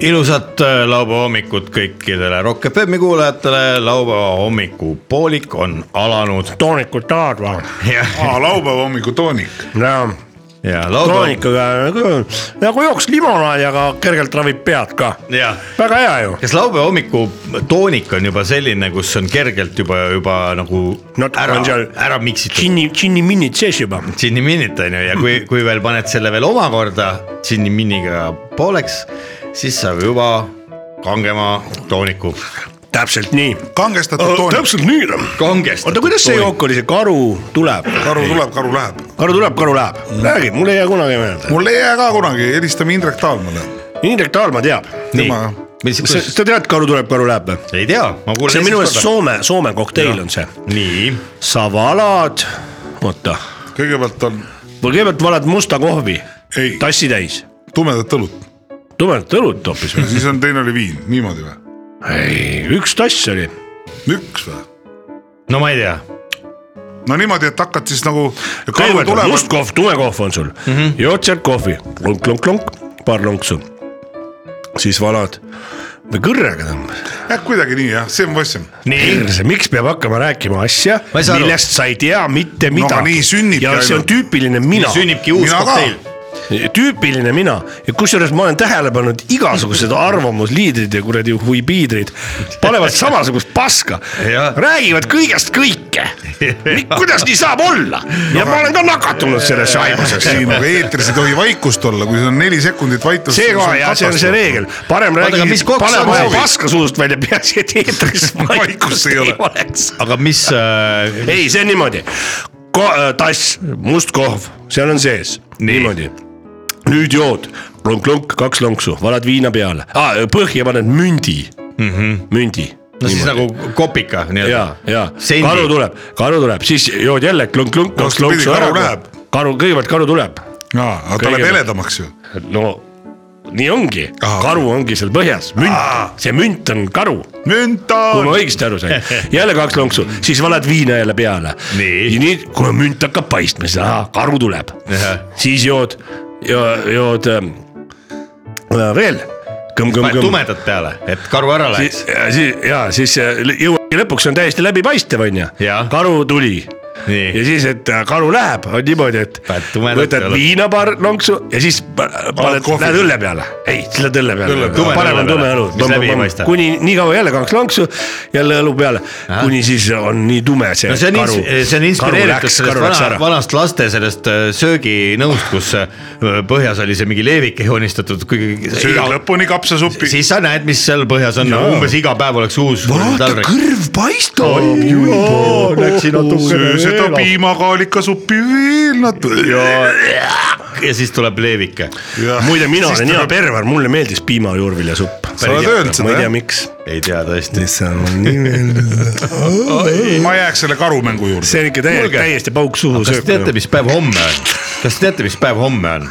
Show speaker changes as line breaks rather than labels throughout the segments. ilusat äh, laupäeva hommikut kõikidele Rock FM-i kuulajatele , laupäeva hommikupoolik on alanud .
toonikut tahad või ?
ja ,
aa , laupäeva hommikutoonik .
jah ,
ja laupäeva ,
toonikaga nagu- nagu jooks limonaadi , aga kergelt ravib pead ka .
ja
väga hea ju .
kas laupäeva hommiku toonik on juba selline , kus on kergelt juba , juba nagu
Natuke
ära
on seal- ,
ära miksitud
džinni , džinniminid sees juba .
džinni minit on ju ja kui , kui veel paned selle veel omakorda džinni miniga pooleks , siis saab juba kangema tooniku .
täpselt nii .
kangestatud toonik .
Äh, täpselt nii .
kangestatud
oota , kuidas see
toonik.
jook oli , see karu tuleb ?
karu tuleb , karu läheb .
karu tuleb , karu läheb . räägi , mul ei jää kunagi meelde .
mul ei jää ka kunagi , helistame Indrek Taalmale .
Indrek Taalma teab .
nii
tema- ,
mis ,
kas sa tead , karu tuleb , karu läheb või ?
ei tea , ma kuulen .
see on minu meelest Soome , Soome kokteil on see .
nii ,
sa valad , oota ,
kõigepealt on
kõigepealt valad musta kohvi ,
ei ,
tassi täis ,
tumedat õlut ,
tumedat õlut hoopis või ?
siis on teine oli viin , niimoodi või ?
ei , üks tass oli
üks või ?
no ma ei tea ,
no niimoodi , et hakkad siis nagu .
kõigepealt on must kohv , tume kohv on sul mm , -hmm.
Mhm.
jood sealt kohvi , klonk , klonk , klonk , paar lonksu . siis valad või kõrrega tõmbad .
jah , kuidagi nii jah , see on võssim .
nii ,
miks peab hakkama rääkima asja
Ma ei saa , aru.
millest sa ei tea mitte midagi
aga nii sünnibki
ja see on
ainult.
tüüpiline mina ,
sünnibki uus
Mina ka.
kokteil .
tüüpiline mina ja kusjuures ma olen tähele pannud igasugused arvamusliidrid ja kuradi huipiidrid panevad samasugust paska
Jah. ,
räägivad kõigest kõike . kuidas nii saab olla ja ma olen ka nakatunud sellesse aimusesse
ei , aga nagu eetris ei tohi vaikust olla , kui sul on neli sekundit vaikust .
see ka ja see on see reegel , parem räägi
aga mis , kokk
pane
sa
oma
soovid?
paska suust välja , peaasi , et eetris
Vaikust
vaikust
ei
ei
ole.
oleks .
aga mis äh, ,
ei , see on niimoodi , tass , must kohv , seal on sees , niimoodi . nüüd jood klonk-klonk , kaks lonksu , valad viina peale ah, , põhja paned mündi mm , -hmm.
Mhm.
mündi .
no siis nagu kopika
ja ,
nii-öelda .
ja
Sendi.
karu tuleb , karu tuleb , siis jood jälle klonk-klonk , kaks
Vastupidi,
lonksu ära
karu läheb. .
karu , kõigepealt karu tuleb
aa , aga ta läheb
Kõigepealt.
heledamaks ju .
no nii ongi ,
Ahah.
karu ongi seal põhjas , münt , see münt on karu , kui ma
münta .
õigesti aru sain . jälle kaks lonksu , siis valad viina jälle peale .
Nii.
ja nii , kuna münt hakkab paistma , siis ahah, karu tuleb
Ahah. .
siis jood , jood ähm, äh, veel
paned
kõmm-kõmm-kõmm .
tumedat peale , et karu ära läheks .
siis ja siis äh, lõ- jõuabki lõpuks on täiesti läbipaistev onju
Jaa. ,
karu tuli ja
nii ,
siis , et äh, karu läheb , on niimoodi , et
Paned tumedat
võtad
õlut.
viina paar lonksu ja siis pa- paned ,
kohvi.
lähed õlle peale , ei , siis lähed õlle peale
Õlle , peale.
parem on
Tume
tume
õlle peale, mis läbi ei
õlu
paista. ,
kuni nii kaua jälle kaks lonksu , jälle õlu peale , kuni siis on nii tume see
no see on
eh, karu ,
ins- , see on inspireeritud sellest vana , vanast laste sellest äh, sööginõust , kus äh, põhjas oli see mingi leevike joonistatud , kuigi
sööd
iga-
lõpuni kapsasuppi .
siis sa näed , mis seal põhjas on , umbes iga päev oleks uus .
kõrv paistab .
läksin
söö seda . piimakaalikasuppi veel natuke .
ja siis tuleb leevike .
muide , mina olen hea perver , mulle meeldis piimajuurviljasupp .
Sa oled öelnud seda,
ma ei
jah?
tea , miks .
ei tea tõesti .
ma jääks selle karumängu juurde .
see on ikka täie-
Kuulge.
täiesti pauk suhu noh.
kas
söök
te teate , mis päev homme on ? kas te teate , mis päev homme on ?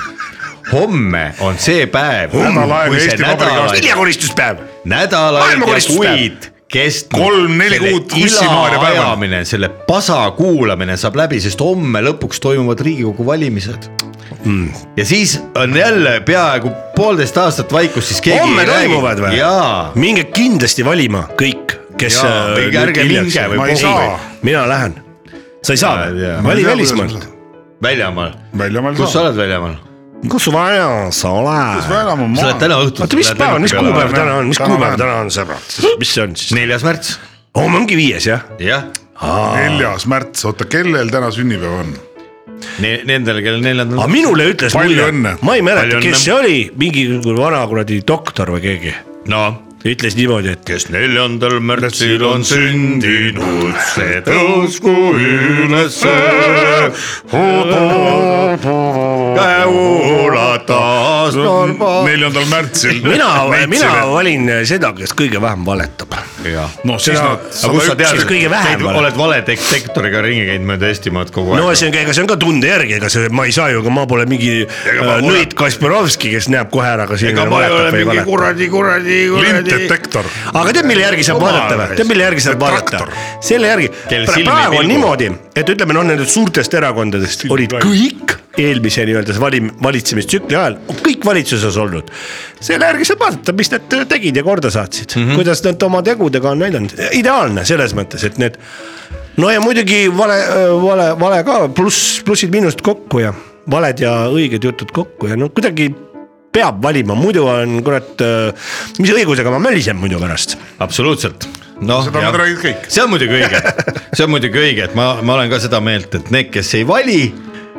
homme on see päev ,
Nädal aega
kui see
Eesti Vabariigi
nädalaid ,
viljakoristuspäev .
nädalaid ja
maailmakoristuspäev.
kuid kestnud .
Kolm-neli kuud Ussimaaria päeval.
ajamine , selle pasa kuulamine saab läbi , sest homme lõpuks toimuvad Riigikogu valimised mm. . ja siis on jälle peaaegu poolteist aastat vaikust , siis keegi
homme
ei räägi .
toimuvad või
jaa ,?
minge kindlasti valima kõik , kes . äh,
Jaa, minge ärge minge või
ma ei
puhu
saa
mina lähen . sa ei saa
Jaa, jaa.
või ?
Ma
vali
ei tea,
välismaalt
kuidas .
väljamaal .
Väljamaal
kus
saa.
sa oled väljamaal ?
kus su vaja sa
ma
oled ?
elan oma
sa oled
maal .
täna õhtul .
oota , mis päev on , mis kuupäev
lähen.
täna on , mis
Täna
kuupäev
lähen.
täna on , sõbrad , mis see on siis ?
neljas märts ,
homme ongi viies jah ?
jah
neljas märts , oota , kellel täna sünnipäev on ?
Ne- , nendel , kellel neljandal
aga minule ütles
Palju õnne.
ma ei mäleta
Palju , õnne.
kes see oli , mingi vana kuradi doktor või keegi ,
no
ütles niimoodi , et
kes neljandal märtsil on sündinud , see tõusku ülesse . käe ulata taas normaal .
neljandal märtsil .
mina , mina valin seda , kes kõige vähem valetab .
noh , siis
Seda-
nad
aga kust sa tead
Siis , kõige vähem vale.
oled valedetektoriga ringi käinud mööda Eestimaad kogu aeg
no see on , ega see on ka tunde järgi , ega see , ma ei saa ju , ega ma pole mingi
ma
äh,
pole-
nõid Kasparovski , kes näeb kohe ära , kas
ega
inimene
ma ei ole
valetab või ei
mingi
valeta .
kuradi , kuradi , kuradi .
lintdetektor .
aga tead , mille järgi saab
Jumal
vaadata või
raisk. ,
tead , mille järgi saab vaadata
Traktor. ?
selle järgi ,
Kel silmi
praegu on
pilgu.
niimoodi , et ütleme noh , nendest suurtest erakondadest olid kõik eelmise nii-öelda see valim- , valitsemistsükli ajal , kõik valitsuses olnud . selle järgi saab vaadata , mis nad tegid ja korda saatsid mm ,
Mhm.
-hmm. kuidas nad oma tegudega on näidanud , ideaalne selles mõttes , et need no ja muidugi vale , vale , vale ka , pluss , plussid-miinused kokku ja valed ja õiged jutud kokku ja no kuidagi peab valima , muidu on kurat , mis õigusega ma mölisen muidu pärast .
absoluutselt . noh ,
Seda nad räägivad kõik.
see on muidugi õige , see on muidugi õige , et ma , ma olen ka seda meelt , et need , kes ei vali ,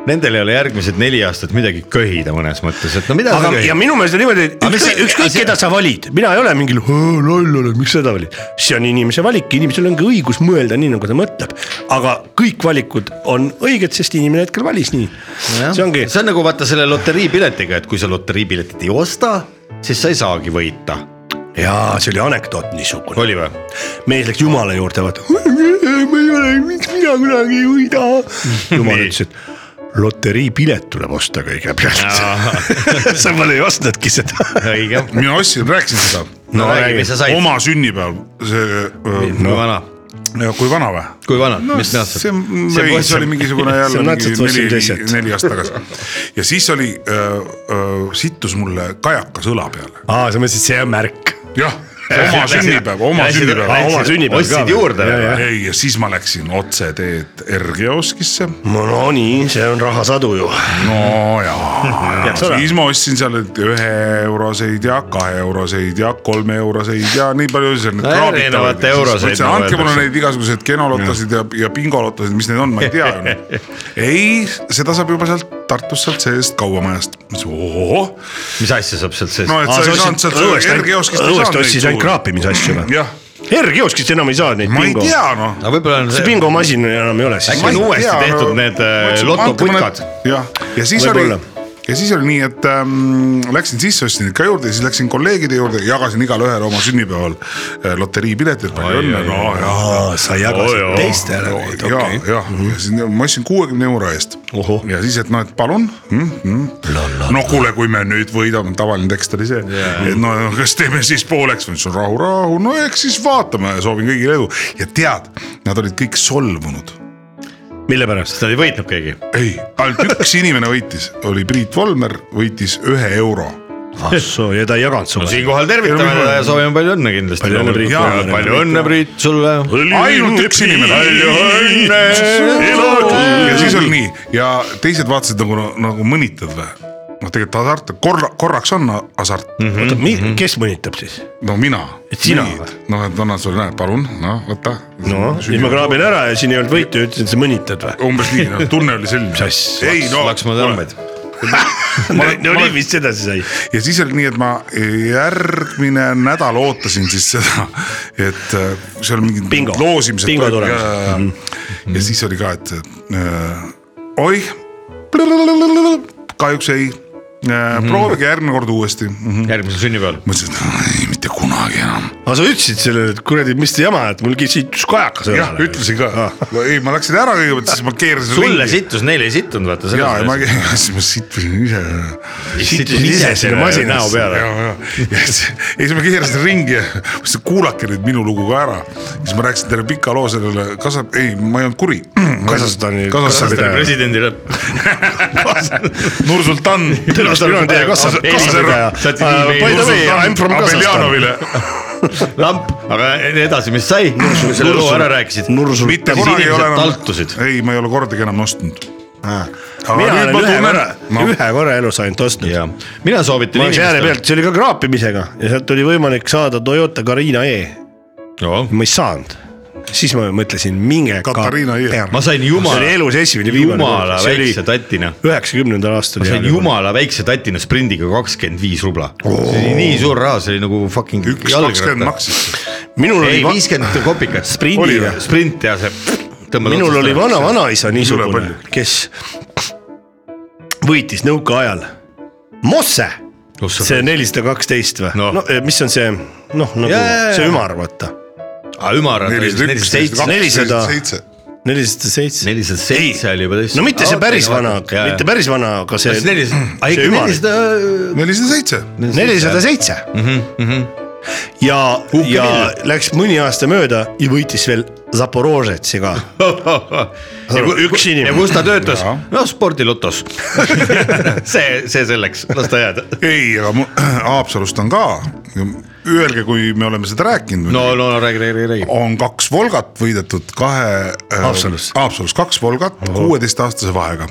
nendel ei ole järgmised neli aastat midagi köhida mõnes mõttes , et no mida
aga , ja minu meelest on niimoodi , et
Aga mis
ükskõik
see- ,
ükskõik
see-
keda sa valid , mina ei ole mingil "Hõ, loll olen , miks seda valid . see on inimese valik , inimesel ongi õigus mõelda nii , nagu ta mõtleb . aga kõik valikud on õiged , sest inimene hetkel valis nii . see ongi ,
see on nagu vaata selle loteriipiletiga , et kui sa loteriipiletit ei osta , siis sa ei saagi võita .
jaa , see oli anekdoot niisugune .
oli või ?
mees läks jumala juurde , vaata . ma ei ole , miks mina kunagi ei võida . jumal ütles , et loteriipilet tuleb osta kõigepealt . sa pole ju ostnudki seda .
õige .
mina ostsin , rääkisin seda .
no räägi , mis sa said ,
oma sünnipäeval , see .
kui vana ,
kui vana või ?
kui vana , mis
see ,
näost
see , ei , see oli mingisugune jälle
on
mingi
natsad võtsid
neli
lihtsalt. ,
neli aastat tagasi . ja siis oli , sittus mulle kajakas õla peale .
aa , sa mõtlesid , see on märk .
jah , oma sünnipäev , oma
läksid-
sünnipäev .
aa, oma sünnipäev ka
ostsid
veel.
juurde
Ja,
või ?
ei , ja siis ma läksin otseteed R-kioskisse ,
no nii , see on rahasadu ju .
no ja
Peaks olema.
siis ma ostsin seal et ühe euroseid ja kahe euroseid ja kolme euroseid ja nii palju seal need
No
kraabid
erinevate
olid. Siis ma
euroseid,
ütlesin,
nagu
andke mulle
öeldakse.
neid igasuguseid kenolotosid ja , ja bingolotosid , mis need on , ma ei tea ju neid . ei , seda saab juba sealt Tartust sealt seest kauamajast , ma ütlesin ohoh ,
mis asja saab sealt sees
no ?
Ah,
et sa ei saanud sealt R-kioskist .
õuest ostsid ainult . kraapimisasju või ?
jah ,
R-kioskist enam ei saa neid
ma ei
bingo .
tea noh .
aga võib-olla on
see
see ,
bingomasin enam ei ole siis
Äkki on . uuesti tehtud need, äh, lotoputkad. .
jah , ja siis
Võib-olla.
oli , ja siis oli nii , et ähm, läksin sisse , ostsin ikka juurde ja siis läksin kolleegide juurde , jagasin igale ühele oma sünnipäeval äh, loteriipiletit , palju õnne , no ja .
aa , sa
Oo,
jagasid oh,
joo.
teistele neid ,
ja ,
okei .
jah ,
Mhm.
ja siis ma ostsin kuuekümne euro eest
Ohoh.
ja siis , et noh , et palun mm . -hmm. no kuule , kui me nüüd võidame , tavaline tekst oli see yeah. , et no kas teeme siis pooleks , ma ütlesin rahu , rahu , no eks siis vaatame , soovin kõigile edu ja tead , nad olid kõik solvunud
mille pärast ?
seda ei võitnud keegi .
ei , ainult üks inimene võitis , oli Priit Volmer , võitis ühe euro .
ahsoo , Ah, ja ta ei jaganud sulle .
siinkohal tervitame teda ja soovime palju õnne kindlasti .
Palju õnne, Priit.
jaa ,
Palju
palju õnne , Priit , sulle .
ainult üks inimene . ja siis oli nii ja teised vaatasid nagu , nagu mõnitad või ? noh , tegelikult hasart , korra , korraks on hasart ,
oota , kes mõnitab siis ?
no mina .
Et sina
või ? noh , et annan sulle , näed , palun , noh , võta .
no , siis ma kraabin ära ja siin ei olnud võitu ja ütlesin , et sa mõnitad või ?
umbes nii , noh , tunne oli selline .
Mis asja?
ei no .
laks ma tõmbaid .
no nii vist sedasi sai .
ja siis oli nii , et ma järgmine nädal ootasin siis seda , et äh, seal mingid
Bingo.
loosimised .
Bingo tulemus. Mhm.
ja siis oli ka , et äh, oih , kahjuks ei ,
Mhm.
proovige järgmine kord uuesti mm . -hmm.
järgmisel sünnipäeval .
mõtlesin , et no, ei mitte kunagi enam .
aga sa ütlesid sellele , et kuradi , mis te jama , et mul sittus kajakas
jah , ütlesin ka ,
Ah.
ei , ma läksin ära kõigepealt , siis ma keerasin .
sulle . sittus , neile ei sittunud , vaata .
ja , ja ma , siis ma sittusin ise .
sittus ise selle masina näo peale .
ja , ja , ja siis , ja siis ma keerasin ringi ja mõtlesin , et kuulake nüüd minu lugu ka ära . siis ma rääkisin talle pika loo sellele Kasa- , ei , ma ei olnud kuri .
Kasahstani-
Kasahstani president .
presidendile .
Nursultan .
mina olen teie kassas- kassapidaja .
Saad siin
By the way , I m from Kasahstan .
Abeljanovile .
lamp , aga edasi , mis sai ? kui selle loo ära rääkisid .
Nursul .
mitte
Siis
kunagi ei ole
inimesed
enam
taltusid. .
ei , ma ei ole kordagi enam ostnud .
mina olen ühe korra ,
ma
ühe korra elus ainult ostnud .
jaa , mina soovitan
ma läks ääre . pealt , see oli ka kraapimisega ja sealt oli võimalik saada Toyota Carina E . ma ei saanud , siis ma mõtlesin , minge .
Katariina E.
ma sain jumala ,
see oli elus esimene
jumala väikse tatina .
üheksakümnendal aastal .
ma sain jumala väikse tatina sprindiga kakskümmend viis rubla . see oli nii suur raha , see oli nagu fucking
üks kakskümmend . maksis .
minul
ei ,
oli ,
viiskümmend kopikat .
Sprindi
Oli
või?
või? sprint ja see .
minul oli . vana-vanaisa
Minule
niisugune
palju. ,
kes võitis nõukaajal Mosse see nelisada kaksteist või
Noh.
no. ? no mis on see noh , nagu
Jaa, jaa,
yeah.
jaa.
see ümar , vaata .
ümar on nelisada seitse ,
nelisada-
seitse .
nelisada seitse .
nelisada seitse oli juba tõesti .
no mitte see päris vana , mitte päris vana , aga see
kas nelisada , aga
see
ikka
ümar.
nelisada .
nelisada seitse .
nelisada seitse . ja , ja läks mõni aasta mööda ja võitis veel Zaporožetsi ka . üks
ja
inimene ,
kus ta töötas
Jaa. ?
no spordilotos . see , see selleks , las ta jääda .
ei , aga mu- Haapsalust on ka , öelge , kui me oleme seda rääkinud .
no , no , no räägi , räägi , räägi .
on kaks Volgat võidetud kahe .
Haapsalus.
Haapsalus kaks Volgat kuueteistaastase vahega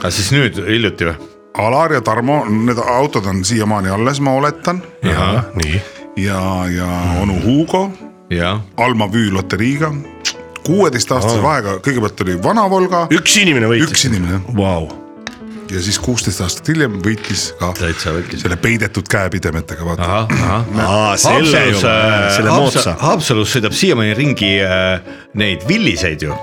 aga siis nüüd hiljuti või ?
Alar ja Tarmo , need autod on siiamaani alles , ma oletan .
nii .
ja , ja
Hmm.
onu Hugo ,
jah .
Alma Püü loteriiga , kuueteistaastase vahega , kõigepealt oli vana Volga ,
üks inimene võitis
üks . inimene
Vau ,
ja siis kuusteist aastat hiljem võitis ka
Täitsa võitis.
selle peidetud käepidemetega , vaata .
ahah , ahah .
selle juba , selle moodsa .
Haapsalus äh, sõidab siiamaani ringi äh, neid villiseid ju .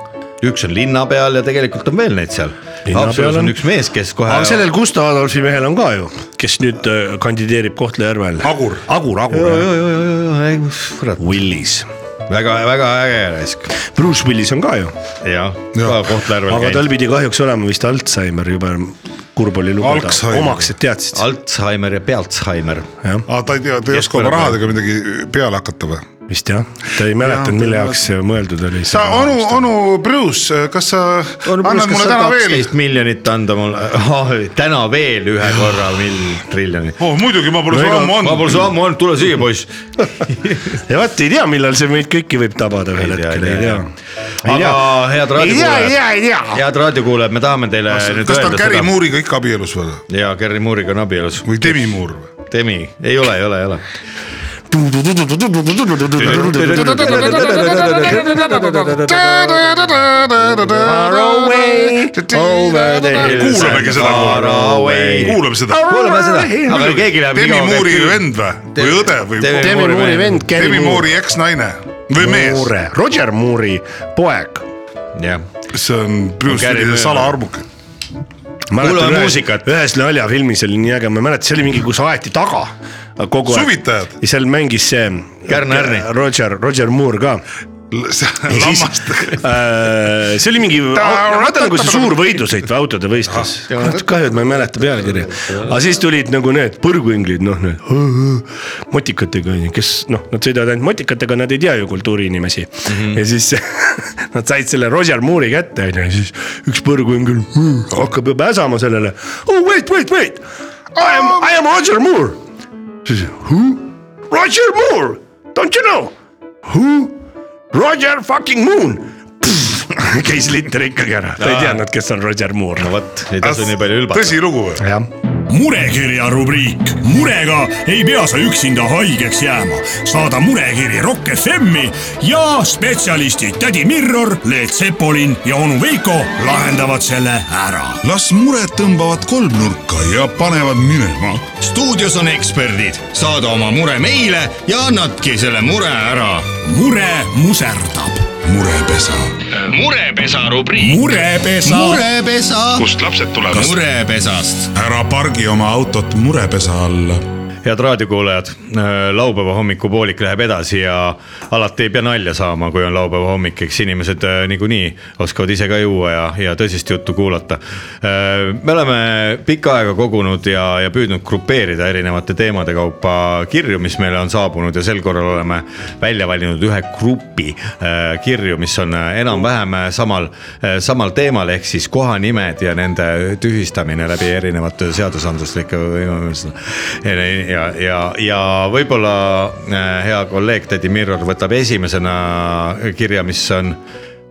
üks on linna peal ja tegelikult on veel neid seal .
Linna
Haapsalus
peal
on
on.
üks mees , kes kohe
aga . sellel Gustav Adolfi mehel on ka ju , kes nüüd äh, kandideerib Kohtla-Järvel .
Agur.
Agur , Agur ,
kurat ,
Willis .
väga-väga äge raisk .
Bruce Willis on ka ju ,
jah ,
Jah.
ka Kohtla-Järvel
aga tal
käinud .
pidi kahjuks olema vist Alžeimer , jube kurb oli lugeda
Alzheimer. ,
omaksed teadsid ,
Alzheimer ja Pealzheimer .
jah ,
aa , Ah, ta ei tea , ta ei oska oma rahadega midagi peale hakata või ?
vist jah , ta ei mäletanud , mille jaoks see mõeldud oli .
sa , onu , onu Bruce , kas sa annad mulle täna veel ?
kaksteist miljonit anda mulle , täna veel ühe korra mil- , triljonit .
oh muidugi , ma pole sulle ammu
ma pole
andnud .
su ammu olnud , tule siia poiss .
ja vot ei tea , millal see meid kõiki võib tabada ühel
Ei tea,
hetkel ,
ei
ei
tea. aga
tea .
head raadiokuulajad ,
ei tea , ei tea ,
head raadiokuulajad , me tahame teile nüüd
kas ta on
öelda
Gary
seda .
Moore'iga ikka abielus või ?
jaa , Gary Moore'iga on abielus .
või Demi Moore või ?
Demi , ei ole , ei ole , ei ole .
ei tea .
kuulamegi seda . kuulame seda .
kuulame seda , aga keegi läheb .
Demi Moore'i . vend või , või õde või ?
Demi
Demi
Moore'i
Moore'i vend ,
Demi
Gary Moore .
Moore'i eksnaine või mees ,
Roger Moore'i poeg .
jah ,
see on Bruce
Gary
Willis'e
Moore.
salaarmuke .
Kuulame muusikat.
ühes naljafilmis oli nii äge , ma ei mäleta , see oli mingi , kus aeti taga kogu
Suvitajad.
ja seal mängis see .
Kärn Ärni.
Roger , Roger Moore ka
lammast .
Äh, see oli mingi , vaata nagu see suur võidusõit või autode võistlus , kahju , et ma ei mäleta pealkirja , aga siis tulid nagu need põrguinglid , noh need motikatega onju , kes noh , nad sõidavad ainult motikatega , nad ei tea ju kultuuriinimesi mm . -hmm. ja siis nad said selle Roger Moore'i kätte onju ja siis üks põrguingel hakkab juba äsama sellele . Oh wait , wait , wait , I am , I am Roger Moore . siis who ? Roger Moore , don't you know ? Who ? Roger fucking Moon . käis litter ikkagi ära , ta ei teadnud , kes on Roger Moore .
vot , ei tasu nii palju ülbata .
tõsilugu või ?
jah ,
murekirja rubriik . murega ei pea sa üksinda haigeks jääma . saada murekiri Rock FM-i ja spetsialistid tädi Mirror , Leet Sepolin ja onu Veiko lahendavad selle ära
las mured tõmbavad kolmnurka ja panevad minema
stuudios on eksperdid , saada oma mure meile ja annadki selle mure ära .
mure muserdab .
murepesa .
murepesa rubriik .
murepesa mure. .
murepesa ,
kust lapsed tulevad ?
murepesast .
ära pargi oma autot murepesa alla .
head raadiokuulajad , laupäeva hommikupoolik läheb edasi ja alati ei pea nalja saama , kui on laupäeva hommik , eks inimesed äh, niikuinii oskavad ise ka juua ja , ja tõsist juttu kuulata . me oleme pikka aega kogunud ja , ja püüdnud grupeerida erinevate teemade kaupa kirju , mis meile on saabunud ja sel korral oleme välja valinud ühe grupi äh, kirju , mis on äh, enam-vähem äh, samal , samal teemal , ehk siis kohanimed ja nende tühistamine läbi erinevate seadusandluslike võimaluste . ja , ja , ja võib-olla äh, hea kolleeg tädi Mirror võtab esimesena kirja , mis on ,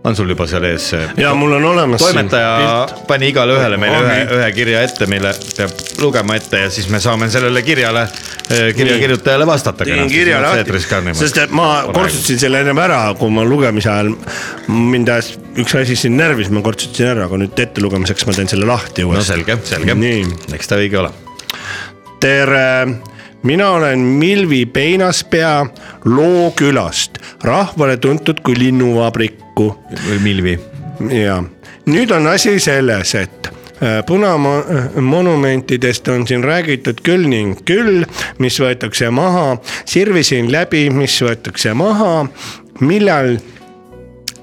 on sul juba seal ees see
ja mul on olemas .
toimetaja pani igale ühele meile
On
ühe ,
nii.
ühe kirja ette , mille peab lugema ette ja siis me saame sellele kirjale , kirja
Nii.
kirjutajale vastata .
tegin kirja lahti , sest et ma kortsutasin selle ennem ära , kui ma lugemise ajal mind ajas üks asi siin närvis , ma kortsutasin ära , aga nüüd ettelugemiseks ma teen selle lahti
no
uuesti .
selge , selge
Nii. ,
eks ta õige ole .
tere , mina olen Milvi Peinaspea Loo külast , rahvale tuntud kui linnuvabriku
Milvi ,
ja nüüd on asi selles , et äh, punamonumentidest on siin räägitud küll ning küll , mis võetakse maha , sirvisin läbi , mis võetakse maha , millal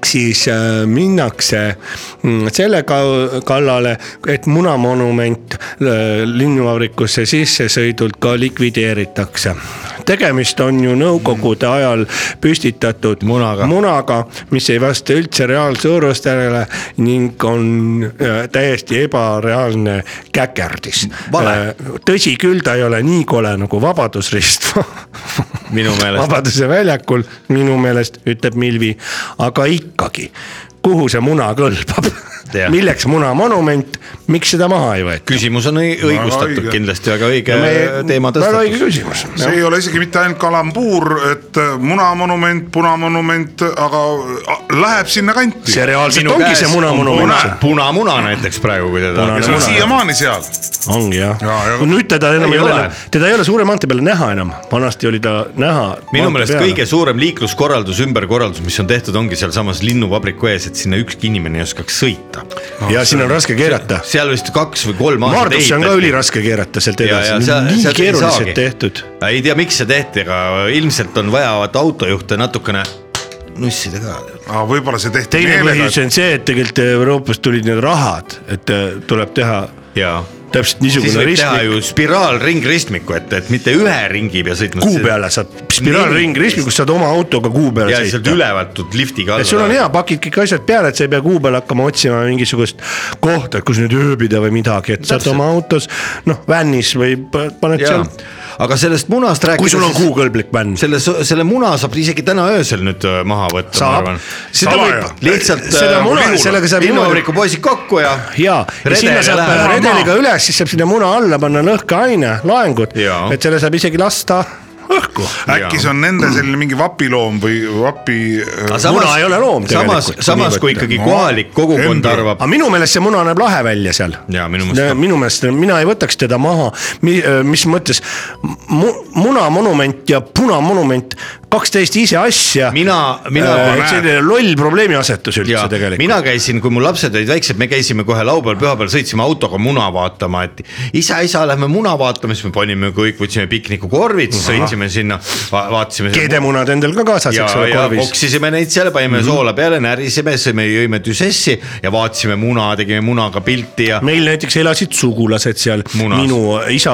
siis äh, minnakse mm, selle ka- kallale , et munamonument äh, linnuvabrikusse sissesõidult ka likvideeritakse . tegemist on ju nõukogude ajal püstitatud
Munaga.
munaga , mis ei vasta üldse reaalsuurustele ning on äh, täiesti ebareaalne käkerdis . tõsi küll , ta ei ole nii kole nagu Vabadusrist
minu meelest .
Vabaduse väljakul minu meelest ütleb Milvi , aga ikkagi , kuhu see muna kõlbab
Jah. ?
milleks munamonument , miks seda maha ei võeta ?
küsimus on õi- õigustatud
õige.
kindlasti , väga õige teema
väga õige
tõstatus .
küsimus .
see ei ole isegi mitte ainult kalambuur , et äh, munamonument , punamonument , aga äh, läheb sinna kanti .
see reaalselt ongi see munamonument .
punamuna näiteks praegu , kui teda .
ja see on siiamaani seal .
ongi jah
Jaa, ja-
nüüd teda enam
Ei
ei
ole.
ole , teda ei ole suure maantee peal näha enam , vanasti oli ta näha .
minu meelest kõige suurem liikluskorraldus , ümberkorraldus , mis on tehtud , ongi sealsamas linnuvabriku ees , et sinna ükski inimene ei oskaks sõita . Ah,
ja sinna on raske keerata .
seal vist kaks või kolm aastat
Maardusse on ka üliraske keerata sealt
Ja, ja,
edasi ,
seal-
nii
sealt ei saagi.
keeruliselt tehtud .
ei tea , miks see tehti , aga ilmselt on vaja vaata autojuhte natukene nussida ka .
aga võib-olla see tehti
teine
meelega ,
põhjus on see , et tegelikult Euroopast tulid need rahad , et äh, tuleb teha
jaa .
täpselt
siis
niisugune
võib teha
ristmik ,
ju spiraalringristmiku , et , et mitte ühe ringi pea sõitma .
kuu peale saab , spiraalring , ristmikus saad oma autoga kuu peale
ja sealt
sõita .
ülevalt tuleb liftiga
et sul on . hea , pakid kõik asjad peale , et sa ei pea kuu peal hakkama otsima mingisugust kohta , kus nüüd ööbida või midagi , et saad
Täpselt.
oma autos , noh , vännis või p- paned
jaa
seal ,,
aga sellest munast
kui sul on
rääkides ,
kuukõlblik vänn .
selle , selle muna saab isegi täna öösel nüüd äh, maha võtta , ma
saab
arvan .,
seda
Salaja.
võib , äh,
lihtsalt .
seda muna , sellega saab niimoodi
linnuvabriku poisid kokku ja .
ja , ja sinna saab äh, redeliga üles , siis saab sinna muna alla panna lõhkeaine , laengud ,
Jaa.
et selle saab isegi lasta õhku .
äkki see on nende selline mingi vapiloom või vapi . äh,
muna ei ole loom
samas
tegelikult, , kui
samas
nii
kui
võtta.
ikkagi
No,
kohalik kogukond
embrio.
arvab ,
aga minu meelest see muna näeb lahe välja seal .
Jaa, minu meelest ka.
minu meelest , mina ei võtaks teda maha , mis mõttes mu, , munamonument ja punamonument , kaks täiesti ise asja . Äh,
Mina- mina- ma näen.
selline loll probleemiasetus
ja
üldse tegelikult .
mina käisin , kui mu lapsed olid väiksed , me käisime kohe laupäeval , pühapäeval sõitsime autoga muna vaatama , et isa , isa , lähme muna vaatama , siis me panime kõik , võtsime piknikukorvid , sõitsime sinna , vaatasime .
keedemunad endal ka kaasas ,
ja
eks , ole ,
ja
korvis .
koksisime neid seal , panime mm
Mhm.
-hmm. soola peale , närisime , sõime , jõime düsessi ja vaatasime muna , tegime munaga pilti ja .
meil näiteks elasid sugulased seal ,
Munas.
minu isa ,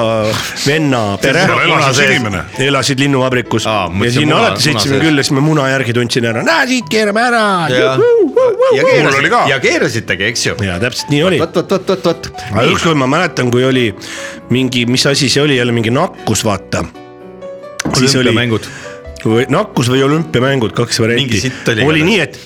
venna pere
sul elas üks inimene.
elasid linnuvabrikus
Aa,
Aa,
mõtlesin,
ja sinna
muna-
alati sõitsime
munases.
külla , siis me muna järgi tundsime ära , näe siit keerame ära .
ja, ja,
Mul oli
keerasid,
ka.
ja keerasitegi , eks ju .
ja täpselt nii oli .
vot , vot , vot , vot , vot .
aga ükskord ma mäletan , kui oli mingi , mis asi see oli , jälle mingi nakkus , vaata . siis oli
olümpiamängud ,
või nakkus või olümpiamängud , kaks
Mingi
varianti
sitt oli .
oli
igatahes.
nii , et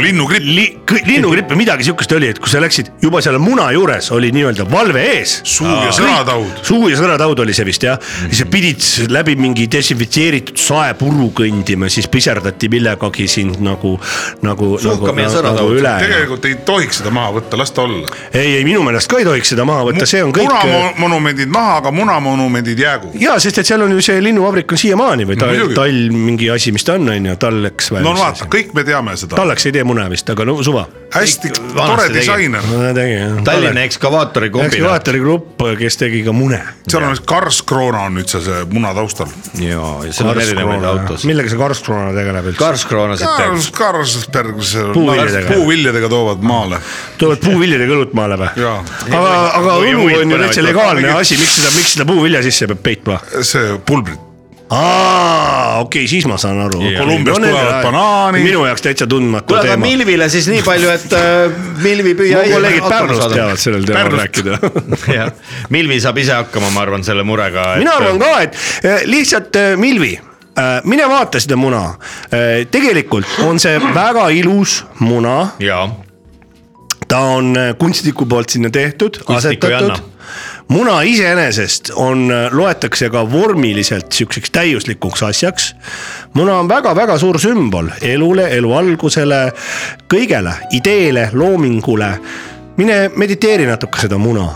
linnugripp ,
li, kõ- linnugripp või midagi siukest oli , et kui sa läksid juba selle muna juures oli nii-öelda valve ees
suu ja sõnataud .
suu ja sõrataud oli see vist jah , ja
Mhm.
sa pidid s- läbi mingi desinfitseeritud saepuru kõndima , siis piserdati millegagi sind nagu , nagu , nagu,
Suhkame ja sõrataud.
üle .
tegelikult ei tohiks seda maha võtta , las ta olla .
ei , ei minu meelest ka ei tohiks seda maha võtta , see on kõik . äh,
munamonumendid maha , aga munamonumendid jäägu .
ja sest , et seal on ju see linnuvabrik on siiamaani või tall ,
Muidugi.
tall mingi asi , mis ta on , on ju , talleks või
no vaata ,. kõik me teame seda .
talleks ei tee mune vist , aga no suva .
hästi tore
vanasti tegi.
disainer ,
Tallinna ekskavaatori kombinaat .
ekskavaatori grupp , kes tegi ka mune .
seal on üks karskroona on nüüd seal see muna taustal .
ja , ja seal on erinevaid autosid .
millega see karskroona tegeleb üldse ?
karskroonasid teeb .
Kars , Karsberg ,
Puuviljadega.
puuviljadega toovad maale .
tulevad puuviljadega õlut maale või ?
Jaa.
aga , aga
Või
õlu
muid
on ju
põnevaid
täitsa
tooteid.
legaalne asi , miks seda , miks seda puuvilja sisse peab peitma ?
see pulbrid ,
aa , okei okay, , siis ma saan aru .
Kolumbiast tulevad banaanid.
minu jaoks täitsa tundmatu
kuule , aga
teema .
Milvile siis nii palju , et äh, Milvi püüa .
mu kolleegid Pärnust teavad sellel teemal rääkida .
jah , Milvi saab ise hakkama , ma arvan , selle murega .
mina arvan ka , et eh, lihtsalt eh, Milvi , mine vaata seda muna . tegelikult on see väga ilus muna ,
jaa ,
ta on eh, kunstniku poolt sinna tehtud ,
Kunstniku ei
asetatud
anna.
muna iseenesest on , loetakse ka vormiliselt siukseks täiuslikuks asjaks . muna on väga-väga suur sümbol elule , elu algusele , kõigele , ideele , loomingule . mine mediteeri natuke seda muna ,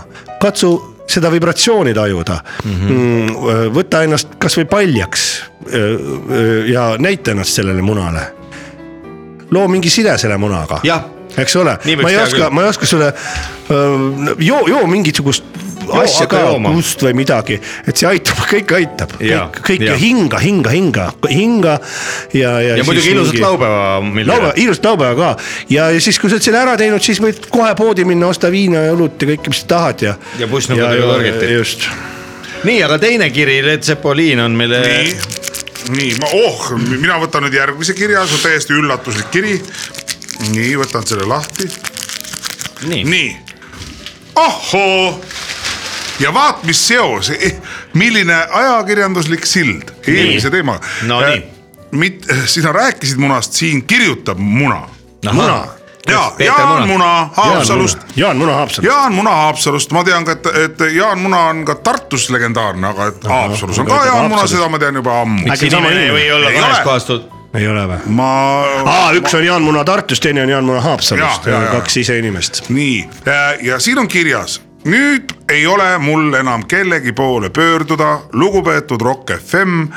katsu seda vibratsiooni tajuda mm .
Mhm.
-hmm. võta ennast kasvõi paljaks äh, öö, öö, ja näita ennast sellele munale . loo mingi side selle munaga
jah ,
eks ole
Nii , võiks
ma ei
teha
oska
küll. ,
ma ei oska sulle öö, joo , joo mingisugust asja
hakka
ka ,
jooma.
kust või midagi , et see aitab , kõik aitab ,
Jaa,
kõik , kõik
jaa.
ja hinga , hinga , hinga , hinga ja , ja .
ja muidugi ilusat laupäeva ,
laupäeva ,
Miller .
ilusat laupäeva ka ja , ja siis , kui sa oled selle ära teinud , siis võid kohe poodi minna , osta viina ja õlut ja kõike , mis sa tahad ja .
Ja pussnukaga targetit.
just ,
nii , aga teine kiri , Led Zeppelin on meile .
nii , nii , ma , oh , mina võtan nüüd järgmise kirja , see on täiesti üllatuslik kiri . nii , võtan selle lahti ,
nii, nii. ,
nii . ahhoo ja vaat mis seos , milline ajakirjanduslik sild eelmise
Nii.
teemaga .
No nii. .
mit- , sina rääkisid munast , siin kirjutab muna .
muna .
ja ,
Peeter
Jaan
Muna.
Muna Haapsalust .
Jaan Muna Haapsalu .
Jaan Muna Haapsalust , ma tean ka , et , et Jaan Muna on ka Tartus legendaarne , aga et Haapsalus on ka
aga
Jaan Muna ,
Haapsalus-
seda ma tean juba ammu .
äkki
sama
inimene ei või
inimene?
olla
Ei
kahes
ole.
kohas tut- ,
ei ole või ?
ma .
aa , üks on Jaan Muna Tartust , teine on Jaan Muna Haapsalust
Jaa, jaa, jaa. ,
kaks ise inimest .
nii , ja siin on kirjas , nüüd ei ole mul enam kellegi poole pöörduda , lugupeetud Rock FM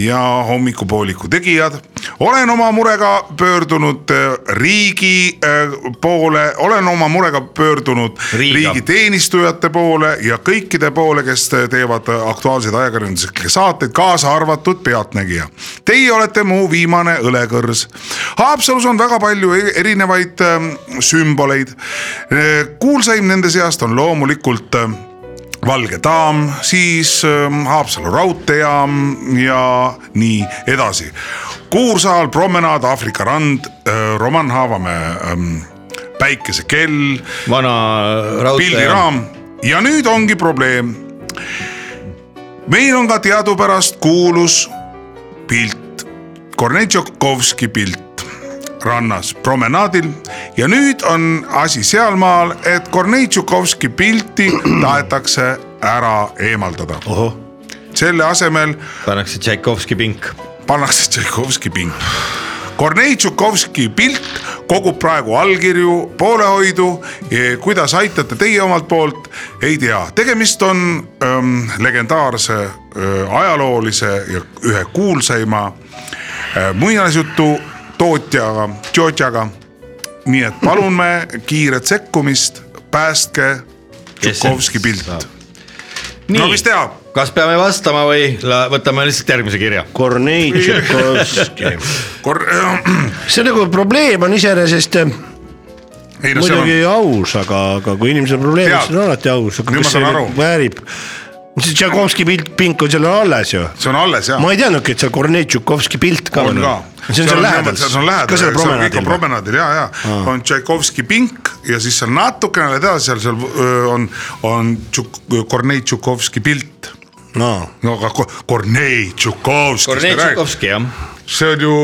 ja hommikupooliku tegijad . olen oma murega pöördunud äh, riigi äh, poole , olen oma murega pöördunud
Riiga.
riigi teenistujate poole ja kõikide poole , kes teevad aktuaalseid ajakirjanduslikke saateid , kaasa arvatud Pealtnägija . Teie olete mu viimane õlekõrs . Haapsalus on väga palju e- erinevaid ähm, sümboleid . kuulsaim nende seast on loomulikult ähm, Valge daam , siis ähm, Haapsalu raudteejaam ja nii edasi . Kuursaal , promenaad , Aafrika rand , Roman Haavamäe ähm, päikesekell
vana raudtee .
pildiraam ja nüüd ongi probleem . meil on ka teadupärast kuulus pilt , Kornei Tšokovski pilt rannas promenaadil ja nüüd on asi sealmaal , et Kornei Tšokovski pilti tahetakse ära eemaldada . selle asemel
pannakse Tšaikovski pink .
pannakse Tšaikovski pink . Kornei Tšukovski pilt kogub praegu allkirju , poolehoidu . kuidas aitate teie omalt poolt , ei tea . tegemist on ähm, legendaarse äh, ajaloolise ja ühe kuulsaima äh, muinasjutu tootjaga , tootjaga . nii et palume kiiret sekkumist , päästke Tšukovski pilt . no mis teha ,
kas peame vastama või la- võtame lihtsalt järgmise kirja ?
Kornei Tšekovski .
kor- ,
see nagu probleem on iseenesest eh,
ei no see on
muidugi aus , aga , aga kui inimesel on probleem ,
Tead.
siis on alati aus , aga
Nüüd ma
kas see
saan
nüüd
aru.
väärib . see Tšaikovski pilt , pink on seal alles ju .
see on alles jah .
ma ei teadnudki , et seal Kornei Tšaikovski pilt ka
on ka .
see on seal lähedal .
see on lähedal ,
ka seal promenaadil või ?
promenaadil ja , ja on Tšaikovski pink ja siis seal natukene läheb edasi , seal , seal öö, on , on Tšuk- Kornei Tšukovski pilt .
no
no aga Ko- Kornei
Kornei
Tšukovski ,
Tšaikovski jah .
see on ju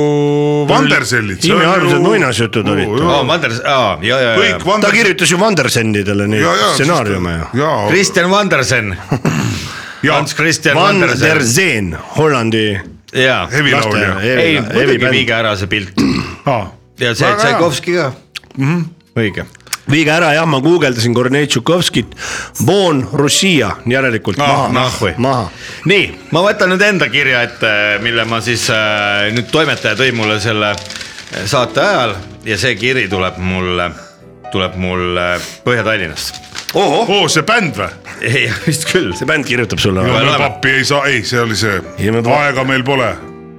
Vandersellid .
imearmsad muinasjutud olid.
aa , Vanders , aa , ja , ja , ja
kõik .
ta
Vandersen-
kirjutas ju Vandersendidele neid stsenaariume ju .
ja ,
Kristjan Vandersen ,
ja
Hans Kristjan Vandersen ,
Vandersen , Hollandi .
jaa .
hevilaulja .
ei , muidugi viige ära see pilt ja see
Väga hea. Mhm.
Tšaikovski ka . õige .
viige ära jah , ma guugeldasin Kornei Tšaikovskit , Bon Russia järelikult
Ah,
maha
nah või. ,
maha .
nii , ma võtan nüüd enda kirja ette , mille ma siis äh, nüüd toimetaja tõi mulle selle äh, saate ajal ja see kiri tuleb mulle , tuleb mulle Põhja-Tallinnast .
oo , see bänd või ?
ei , vist küll .
see bänd kirjutab sulle või ?
loeme.
pappi ei saa , ei , see oli see ,
Ei, me-
aega meil pole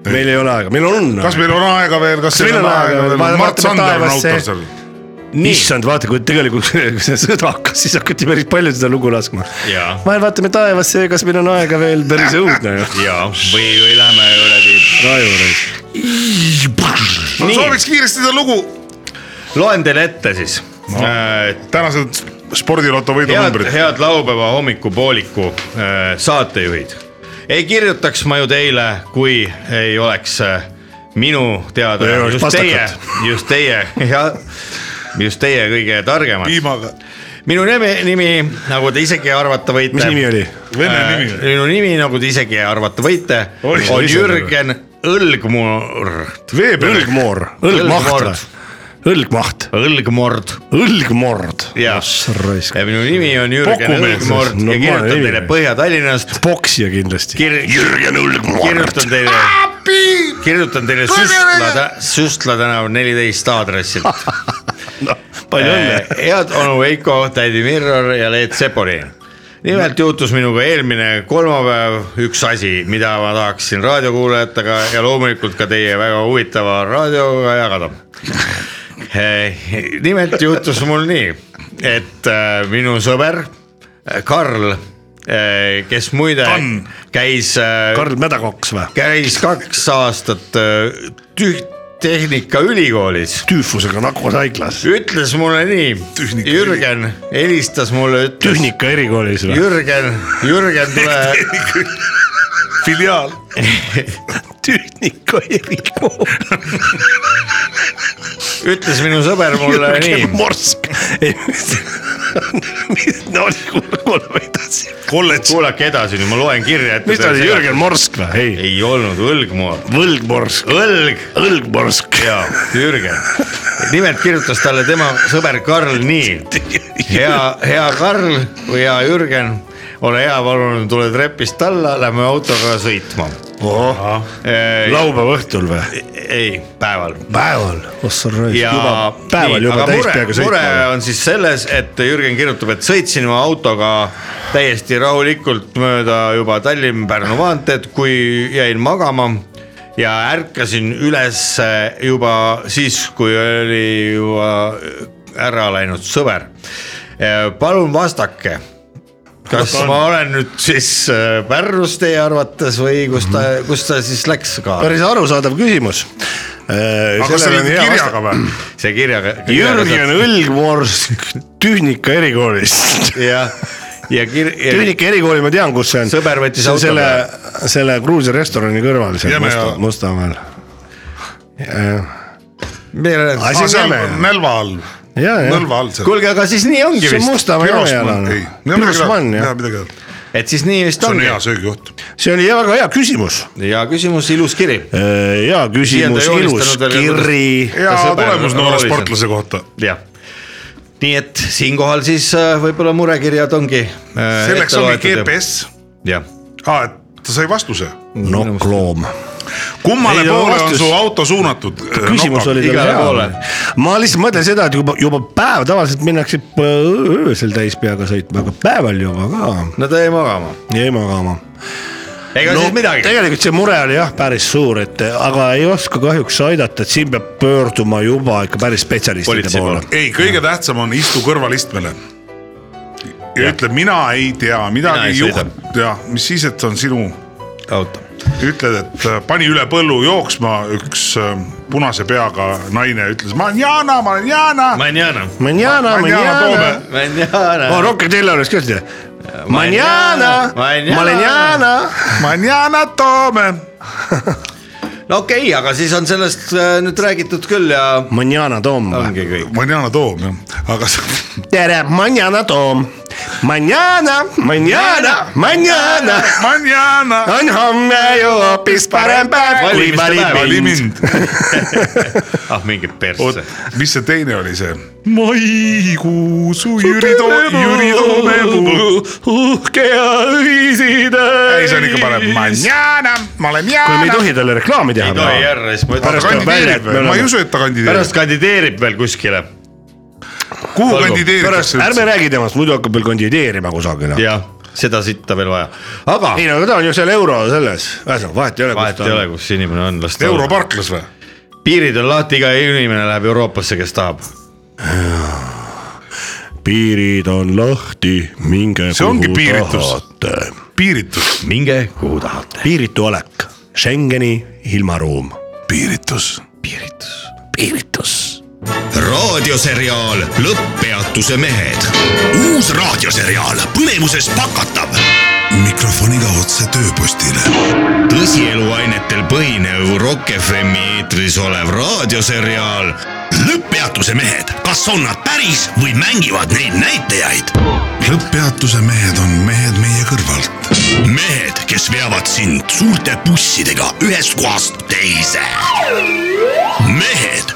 meil ei ole aega , meil on
kas
aega .
meil on aega veel , kas
Kas
meil on aega veel , Mart
Vaatame
Sander on
taevasse.
autor seal .
issand , vaata , kui tegelikult kui see sõda hakkas , siis hakati päris palju seda lugu laskma .
Jaa.
vahel vaatame taevasse , kas meil on aega veel , päris õudne ju .
ja , või , või läheme kuradi .
ma sooviks kiiresti seda lugu ,
loen teile ette siis Äh, no. .
tänased spordiloto
head ,
võidunumbrid .
head laupäeva hommikupooliku äh, saatejuhid . ei kirjutaks ma ju teile , kui ei oleks äh, minu teada
Ei oleks
just teie
pastakat. ,
just teie ja just teie kõige targemad .
piimaga ,
minu nimi , nimi , nagu te isegi arvata võite .
mis nimi oli ?
vene
Äh,
nimi .
minu nimi , nagu te isegi arvata võite ,
Oi, see
on
ise-
Jürgen Õlgmurd ,
veepere ,
õlgmoor , õlgmaht või
Õlgmord. ?
õlgmaht ,
Õlgmord ,
õlgmord .
Jah.
raisk ,
minu nimi on Jürgen
Pokumees.
Õlgmord ja
Normaalne
kirjutan
nimi.
teile Põhja-Tallinnast
poksija kindlasti .
kir- ,
Jürgen
kirjutan
Õlgmord .
teile , kirjutan teile Süstla , Süstla tänav neliteist aadressilt .
palju õnne .
Eh, head onu Veiko , tädi Mirror ja Leet Sepolin . nimelt juhtus minuga eelmine kolmapäev üks asi , mida ma tahaksin raadiokuulajatega ja loomulikult ka teie väga huvitava raadioga jagada . nimelt juhtus mul nii , et äh, minu sõber äh, Karl , kes muide
Tann.
käis äh,
Karl Mädakoks või ?
käis kaks aastat äh, tüh- , tehnikaülikoolis ,
tüüfusega nakkushaiglas .
ütles mulle nii ,
Tühnika-
Jürgen helistas mulle , ütles
tühnika erikoolis või ?
Jürgen , Jürgen tule ,
filiaal .
tühnika erikool .
ütles minu sõber mulle nii
Jürgen . Morsk . no kuulame edasi .
kolledž .
kuulake edasi nüüd , ma loen kirja ette .
mis ta oli , Jürgen ? Morsk või ? ei ,
ei olnud Õlgmoor ,
Võlgmorsk ,
Õlg
Õlgmorsk .
ja Jürgen . nimelt kirjutas talle tema sõber Karl nii . hea , hea Karl või hea Jürgen , ole hea , palun tule trepist alla , lähme autoga sõitma .
laupäeva õhtul või ?
ei , päeval .
päeval . ossa
ja .
päeval juba täis peaga
mure
sõitma .
on siis selles , et Jürgen kirjutab , et sõitsin oma autoga täiesti rahulikult mööda juba Tallinn-Pärnu maanteed , kui jäin magama ja ärkasin üles juba siis , kui oli juba ära läinud sõber . palun vastake , kas ma olen nüüd siis äh, Pärnus teie arvates või kus ta , kus ta siis läks ka ?
Mhm. päris arusaadav küsimus . Äh, aga
kas see oli kirjaga või ?
see kirjaga .
Jürgen Õlgmorsk tühnika erikoolist .
ja , ja kir- .
tühnika erikooli ma tean , kus see on .
Sõber võttis auto
selle , selle Gruusia restorani kõrval seal
Jäme
Musta,
ja-
Mustamäel .
Ah,
peale .
asi on jäme .
Nõlva all ,
ja , ja ,
Nõlva all seal .
kuulge , aga siis nii ongi
see on
vist ,
Mustamäe
Pirosman ,
jamejalane
ei .,
Pirosman jah ,
midagi ei ole ,
et siis nii vist
see on
ongi .
hea söögijuht .
see oli väga hea küsimus .
hea küsimus , ilus kiri .
hea
Siiani
küsimus , ilus
Äh, joonistanud veel-
kiri .
hea
Kas sõber
tulemus
on
noore
olulisem?
sportlase kohta .
jah . nii et siinkohal siis äh, võib-olla murekirjad ongi .
selleks ongi . GPS ,
jah ,
aa , Ah, et ta sai vastuse .
nokkloom .
kummale
Ei, no
poole on
vastus-
su auto suunatud ? eh,
küsimus oli tal
igale poole.
hea . ma lihtsalt mõtlen seda , et juba , juba päev tavaliselt minnakse p- öösel täis peaga sõitma , aga päeval juba ka
no ta jäi magama .
jäi magama .
ega no, siis midagi .
tegelikult see mure oli jah , päris suur , et aga ei oska kahjuks aidata , et siin peab pöörduma juba ikka päris spetsialistide
Politsei
poole .
ei , kõige tähtsam on istu kõrvalistmele . ja ütle , mina ei tea
Mina ei
midagi
sõida.
juht- , jah , mis siis , et see on sinu ,
auto .
ütled , et äh, pani üle põllu jooksma üks äh, punase peaga naine , ütles ma olen Jana , ma olen Jana .
Manjana .
Manjana , manjana .
Manjana
oh , Rock n Roll oleks ka seda . Manjana ,
Manjana.
manjana .
ma olen Jana Toome .
no okei okay, , aga siis on sellest äh, nüüd räägitud küll ja
Manjana Tom .
ongi kõik .
ma olen Jana Toom jah , aga sa-
tere , manjana Tom . Manjana , manjana , manjana .
ma olen Jana .
on homme ju hoopis parem päev , kui
Valimiste päev.
valid
vali
mind .
mind .
ah mingi
oot
persse .,
mis see teine oli see ? maikuus Jüri Toome , Jüri Toome .
uhke ja õiside .
ei , see on ikka parem . ma olen Jana , ma olen
kui me ei
Jana .
tohi talle reklaami
ei
teha .
tohi ära , siis ma
ta
Pärast
ütlen
tuleb . välja, et
kandideerib
me
veel , ma ei
oleme-
usu , et ta kandideerib .
pärast kandideerib veel kuskile .
kuhu
Olgu.
kandideeritakse
ärme
üldse ?
räägi temast , muidu hakkab veel kandideerima kusagile .
jah , seda sitta veel vaja , aga
ei no aga ta on ju seal euro selles , ühesõnaga vahet ei ole .
vahet ei ole , kus inimene on , las ta olla .
europarklas või ?
piirid on lahti , iga inimene läheb Euroopasse , kes tahab .
piirid on lahti , minge
See ongi piiritus.
tahate .
piiritus .
minge kuhu tahate .
piiritu olek , Schengeni ilmaruum .
piiritus .
piiritus . piiritus .
raadioseriaal Lõpppeatuse mehed .
uus raadioseriaal põnevuses pakatav . mikrofoniga otse tööpostile .
tõsieluainetel põhinev Rock FM-i eetris olev raadioseriaal
lõpppeatuse mehed , kas on nad päris või mängivad neid näitajaid ? lõpppeatuse mehed on mehed meie kõrvalt . mehed , kes veavad sind suurte bussidega ühest kohast teise . mehed ,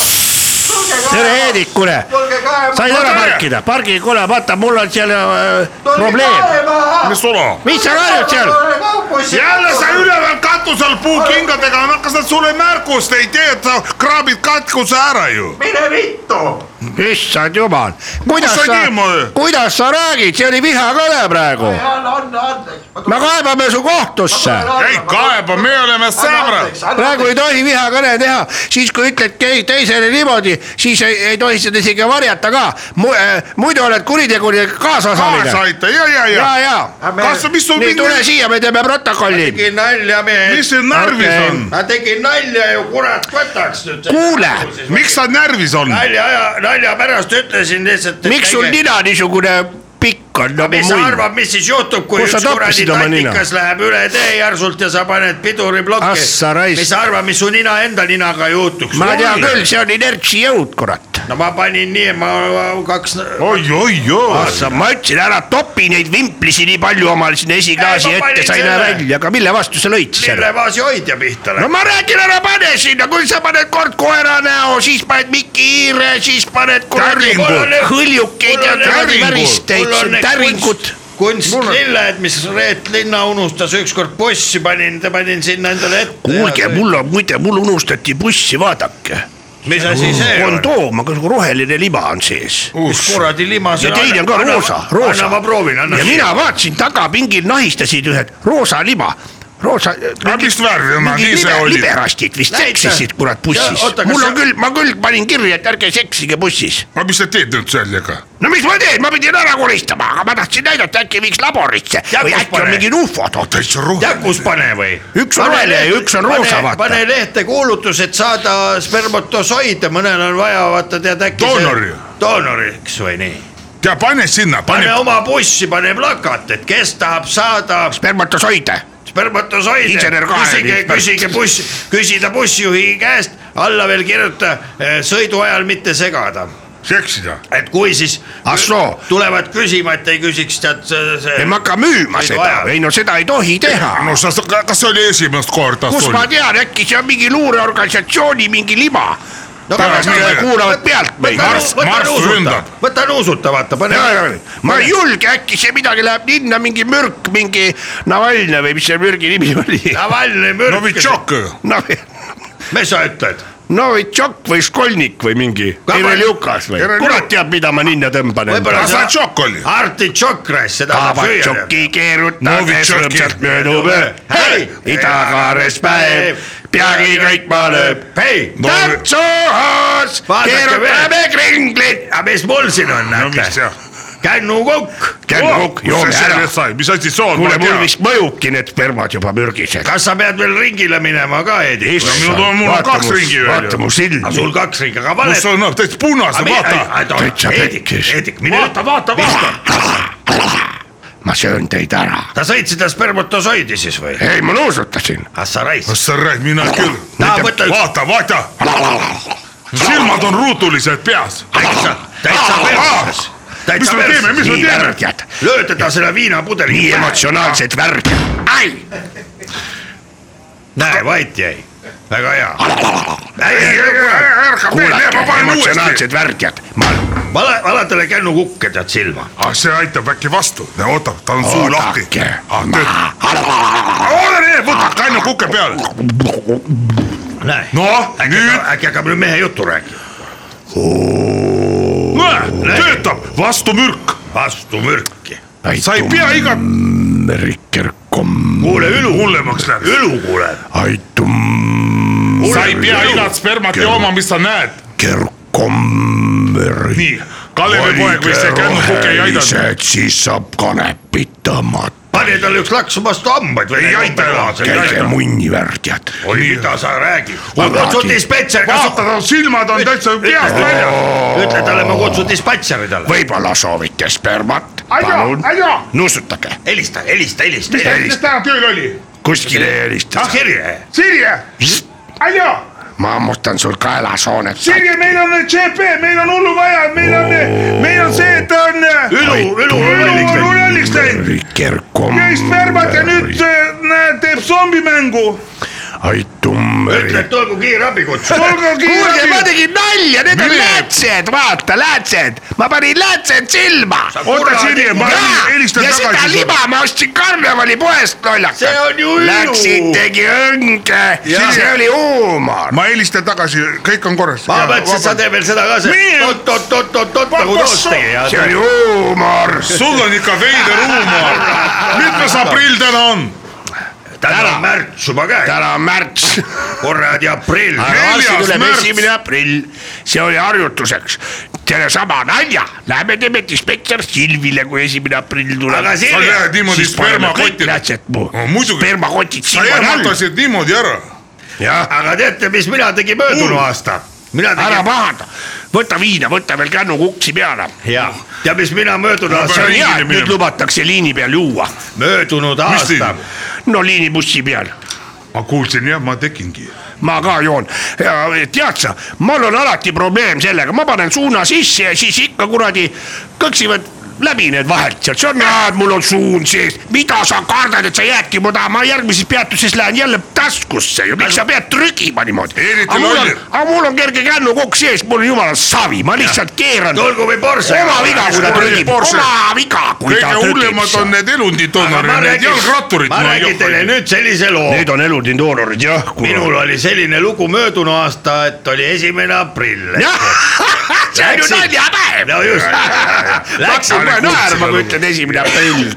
tere , Heidik , kuule . said ära parkida , pargi , kuule , vaata , mul on seal äh, probleem .
mis sul on ?
mis sa karjud seal ?
jälle sa üleval katusel puukingadega , kas nad sulle märkust ei tee , et sa kraabid katkuse ära ju .
issand jumal , kuidas
Kus sa
sa
niimoodi? ,
kuidas sa räägid , see oli vihakõne praegu . me kaebame su kohtusse .
ei kaeba , me oleme sõbrad .
praegu ei tohi vihakõne teha , siis kui ütled ke- teisele niimoodi , siis ei, ei tohi seda isegi varjata ka . muidu oled kuriteguline
kaasa
kaasosaline .
aita ja , ja ,
ja ,
ja .
ja .
kas , mis sul
nii , tule
mingi ,
siia , me teeme protokolli .
tegin nalja , mees
mis . sul närvis
Okei.
on ?
ma tegin nalja ju , kurat , võtaks nüüd .
kuule ,
miks sa närvis on ?
nalja aja , nalja pärast ütlesin lihtsalt .
miks sul nina niisugune pikk on nagu
mis sa
mull ?
arvad , mis siis juhtub , kui
Kus sa
üks kuradi
tappisid oma nina?
tatikas läheb üle tee järsult ja sa paned piduriplokki .
Ah sa raisk.
mis sa arvad , mis su nina enda ninaga juhtuks ?
ma tean küll , see on inertsi jõud , kurat .
no ma panin nii , ma ma- kaks .
oi , oi , oi .
ma ütlesin Ah, ära , topi neid vimplisi nii palju omal sinna esiklaasi
Ei, ma panin
ette , sa ei näe
selle.
välja , aga mille vastu sa lõid siis ära ?
lillevaasi hoidja pihta
no
läks .
ma räägin , ära pane sinna , kui sa paned kord koera näo , siis paned Miki hiire , siis paned kuradi
Täringu.
hõljukeid ja
Mul on
kuradi
täringu.
väristeid
Mul on , need
täringud .
kunstlilled , mis Reet Linna unustas ükskord bussi panin , panin sinna endale ette .
kuulge , mul on muide , mul unustati bussi , vaadake .
mis asi see on ?
kondoom , aga nagu roheline liba on sees .
mis kuradi lima see
ja teine on ka roosa , roosa .
anna ma proovin , anna
ja . mina vaatasin tagapingil nahistasid ühed roosa liba , roosa .
aga mis värvi on , nii see oli .
liberastid vist
Näita.
seksisid kurat bussis
Ja, oota, , kas
mul on
sa-
küll , ma küll panin kirja , et ärge seksige bussis .
aga mis sa teed nüüd sellega ?
no mis ma teen , ma pidin ära koristama , aga ma tahtsin näidata , äkki viiks laborisse
Ja
või
kus
äkki on
pane?
mingid ufod oota .
täitsa roheline .
jakus pane või ?
Üks on roheline ja üks on roosa, vaata.
pane lehte kuulutus , et saada spermatosoide , mõnel on vaja , vaata tead äkki .
Doonori. .
doonoriks või nii .
ja pane sinna ,
pane
pane .
oma bussi , pane plakat , et kes tahab saada
spermatosoide ,
spermatosoide .
Insener Kaarel,
küsige ,
ekspert.
küsige buss , küsida bussijuhi käest , alla veel kirjuta eh, sõidu ajal mitte segada
seksida .
et kui siis
Ah soo.
tulevad küsima , et ei küsiks tead see, see...
ei ma hakka müüma
Ei
seda
vaja. ,
ei no seda ei tohi teha .
no sa , kas see oli esimest korda
kus
sul
ma ? tean , äkki see on mingi luureorganisatsiooni mingi liba . pärast
aga-
äh, kuulavad pealt meid .
Marss- Marss ründab. .
võta nuusuta , vaata , pane .
ma ei julge , äkki see midagi läheb ninna , mingi mürk , mingi Navalnõi või mis see mürgi nimi oli ?
Navalnõi mürk .
Novitšok ,
mis sa ütled ?
Novitšok või Školnik või mingi
Ka-
Eveljukas või
Eveljuk- ?
kurat teab , mida ma ninna tõmban
Võib-olla
endale .
kasatšok oli .
artitšokk raisk , seda saab süüa .
Kavatšoki keerutades
Novitšoki.
rõõmsalt möödupöö , hei , idakaares päev , peagi kõik maa lööb , hei ,
No-
tantsuhoos ,
Vaadake
keerutame kringlit ,
aga mis mul siin on ,
no mis
näete
see ,
kännukukk .
kännukukk , joome ära .
sai , mis asi see on ?
kuule , mul vist mõjubki need spermad juba mürgised .
kas sa pead veel ringile minema ka , Heidi ?
minul on- mul on kaks ringi veel ju.
vaata mu silmi
sul , kaks ringi , aga
mul
vale .
on no, täitsa punase , vaata .
Täitsa
Heidik ,
pekkis.
Heidik , mine . vaata , vaata , vaata .
ma söön teid ära .
ta sõid seda spermatosoidi siis või ?
ei , ma nuusutasin .
ah sa raisk .
kas sa räägid , mina küll .
Taha võtta üks-
vaata , vaata , silmad on ruutulised peas .
täitsa , täitsa perses .
mis
täitsa
me teeme , mis me
nii
teeme ?
värgjad ,
löö teda selle viinapudeli .
nii emotsionaalsed värgjad , ai ,
näe , vait jäi , väga hea .
ärka
kuulake
meelde , ma , panen uuesti .
emotsionaalsed värgjad , ma
vala , vala talle kännukukke tead silma .
ah , see aitab äkki vastu , oota , tal on suu lahti .
oodake ,
ah ,
ma
töötab . ole nii , võta kannu kuke peale .
näe ,
noh , nüüd ,
äkki hakkab nüüd mehe juttu rääkima .
näe , töötab , vastu mürk .
vastu mürki .
sa ei pea iga ,
rikerkomm ,
kuule , Ülu hullemaks läheb .
õlu kuuleb .
aitum ,
sa ei pea igat spermat jooma , mis sa näed .
kerkomm ,
nii , Kalevi poeg või see kännukuke ei aidanud .
siis saab kanepit tõmmata ,
pane talle üks laksu vastu hambaid või
Ei aita enam, see ei aita.
käige munni värgjad .
oi , mida sa räägid . ma
Aga-
kutsun dispetšeri ,
vaata ,
kasuta ,
tal silmad on täitsa peast väljas .
ütle talle , ma kutsun dispetšeri talle .
võib-olla soovite spermat ,
Aja ,
palun
aja ,
nuusutage ,
helista , helista , helista , Ah,
mis
helista .
täna tööl oli ?
kuskile helistada .
Sirje ,
Sirje , aja ,
mammutan sul kaelasooned .
Sirge , meil on CP , meil on hullu vaja , meil on , meil on see , et ta on .
Ülu- ülu-
ülu on lolliks läinud .
kerkum .
käis värvat ja nüüd äh, näed , teeb zombimängu .
ai tummeri .
ütle , et tulgu kiirabi kutsuda .
olge
kuulge , ma
kiire .
tegin nalja , need on läätsed , vaata läätsed , ma panin läätsed silma .
oota , Sirje , ma helistan
ja seda
tagasi .
liba ma ostsin karnevali poest lollakalt .
See on ju ülu.
Läksin , tegi õnge , see oli huumor .
ma helistan tagasi , kõik on korras .
ma mõtlesin , et sa teed veel seda ka , see
Meie-
oot-oot-oot-oot-oot nagu toos tegi ja
see oli huumor .
sul on ikka veider huumor . mitmes aprill täna on ?
täna on märts juba käes ,
täna on märts ,
kuradi aprill .
varsti
neljas
tuleb
märts .
esimene aprill , see oli harjutuseks . sellesama nalja , lähme teeme dispetšer Silvile , kui esimene aprill tuleb .
Aga Silvia-
sa lähed niimoodi spermakottidega .
tähtsad mu
No muidugi.
spermakotid
sa
silma all .
ehmatasid niimoodi ära .
aga teate , mis mina tegin möödunud
Kuul-
aasta ? mina
ära
tegin ,
pahanda , võta viina , võta veel kännu kuksi peale .
ja
ja mis mina möödunud
see
aasta
on
liinile
hea , et
minema.
nüüd lubatakse liini peal juua .
möödunud
mis tegi
aasta ??
no liinibussi peal ,
ma kuulsin jah , ma tegingi .
ma ka joon . tead sa , mul on alati probleem sellega , ma panen suuna sisse ja siis ikka kuradi kõksivad läbi need vahelt sealt , see on , mul on suund sees , mida sa kardad , et sa jäädki mu taha , ma järgmises peatuses lähen jälle taskusse ju , miks sa pead trügima niimoodi
Eriti ? loll.
aga mul on kerge kännukokk sees , mul on jumala savi , ma lihtsalt keeran .
tulgu või porse .
oma viga , kui ta
Kuradi
trügib ,
Porsche.
oma viga , kui
kõige
ta trügib
hullemad on
seal .
need elundid
ma
donorid , need
räägin ,
jalgratturid .
ma räägin teile nüüd sellise loo .
Need on elud ning doonorid jah ,
minul oli selline lugu möödunud aasta , et oli esimene aprill .
see on ju
Läksid-
naljapäev .
no just.
Läksin
Läksid-
kohe naerma , kui ütled esimene aprill .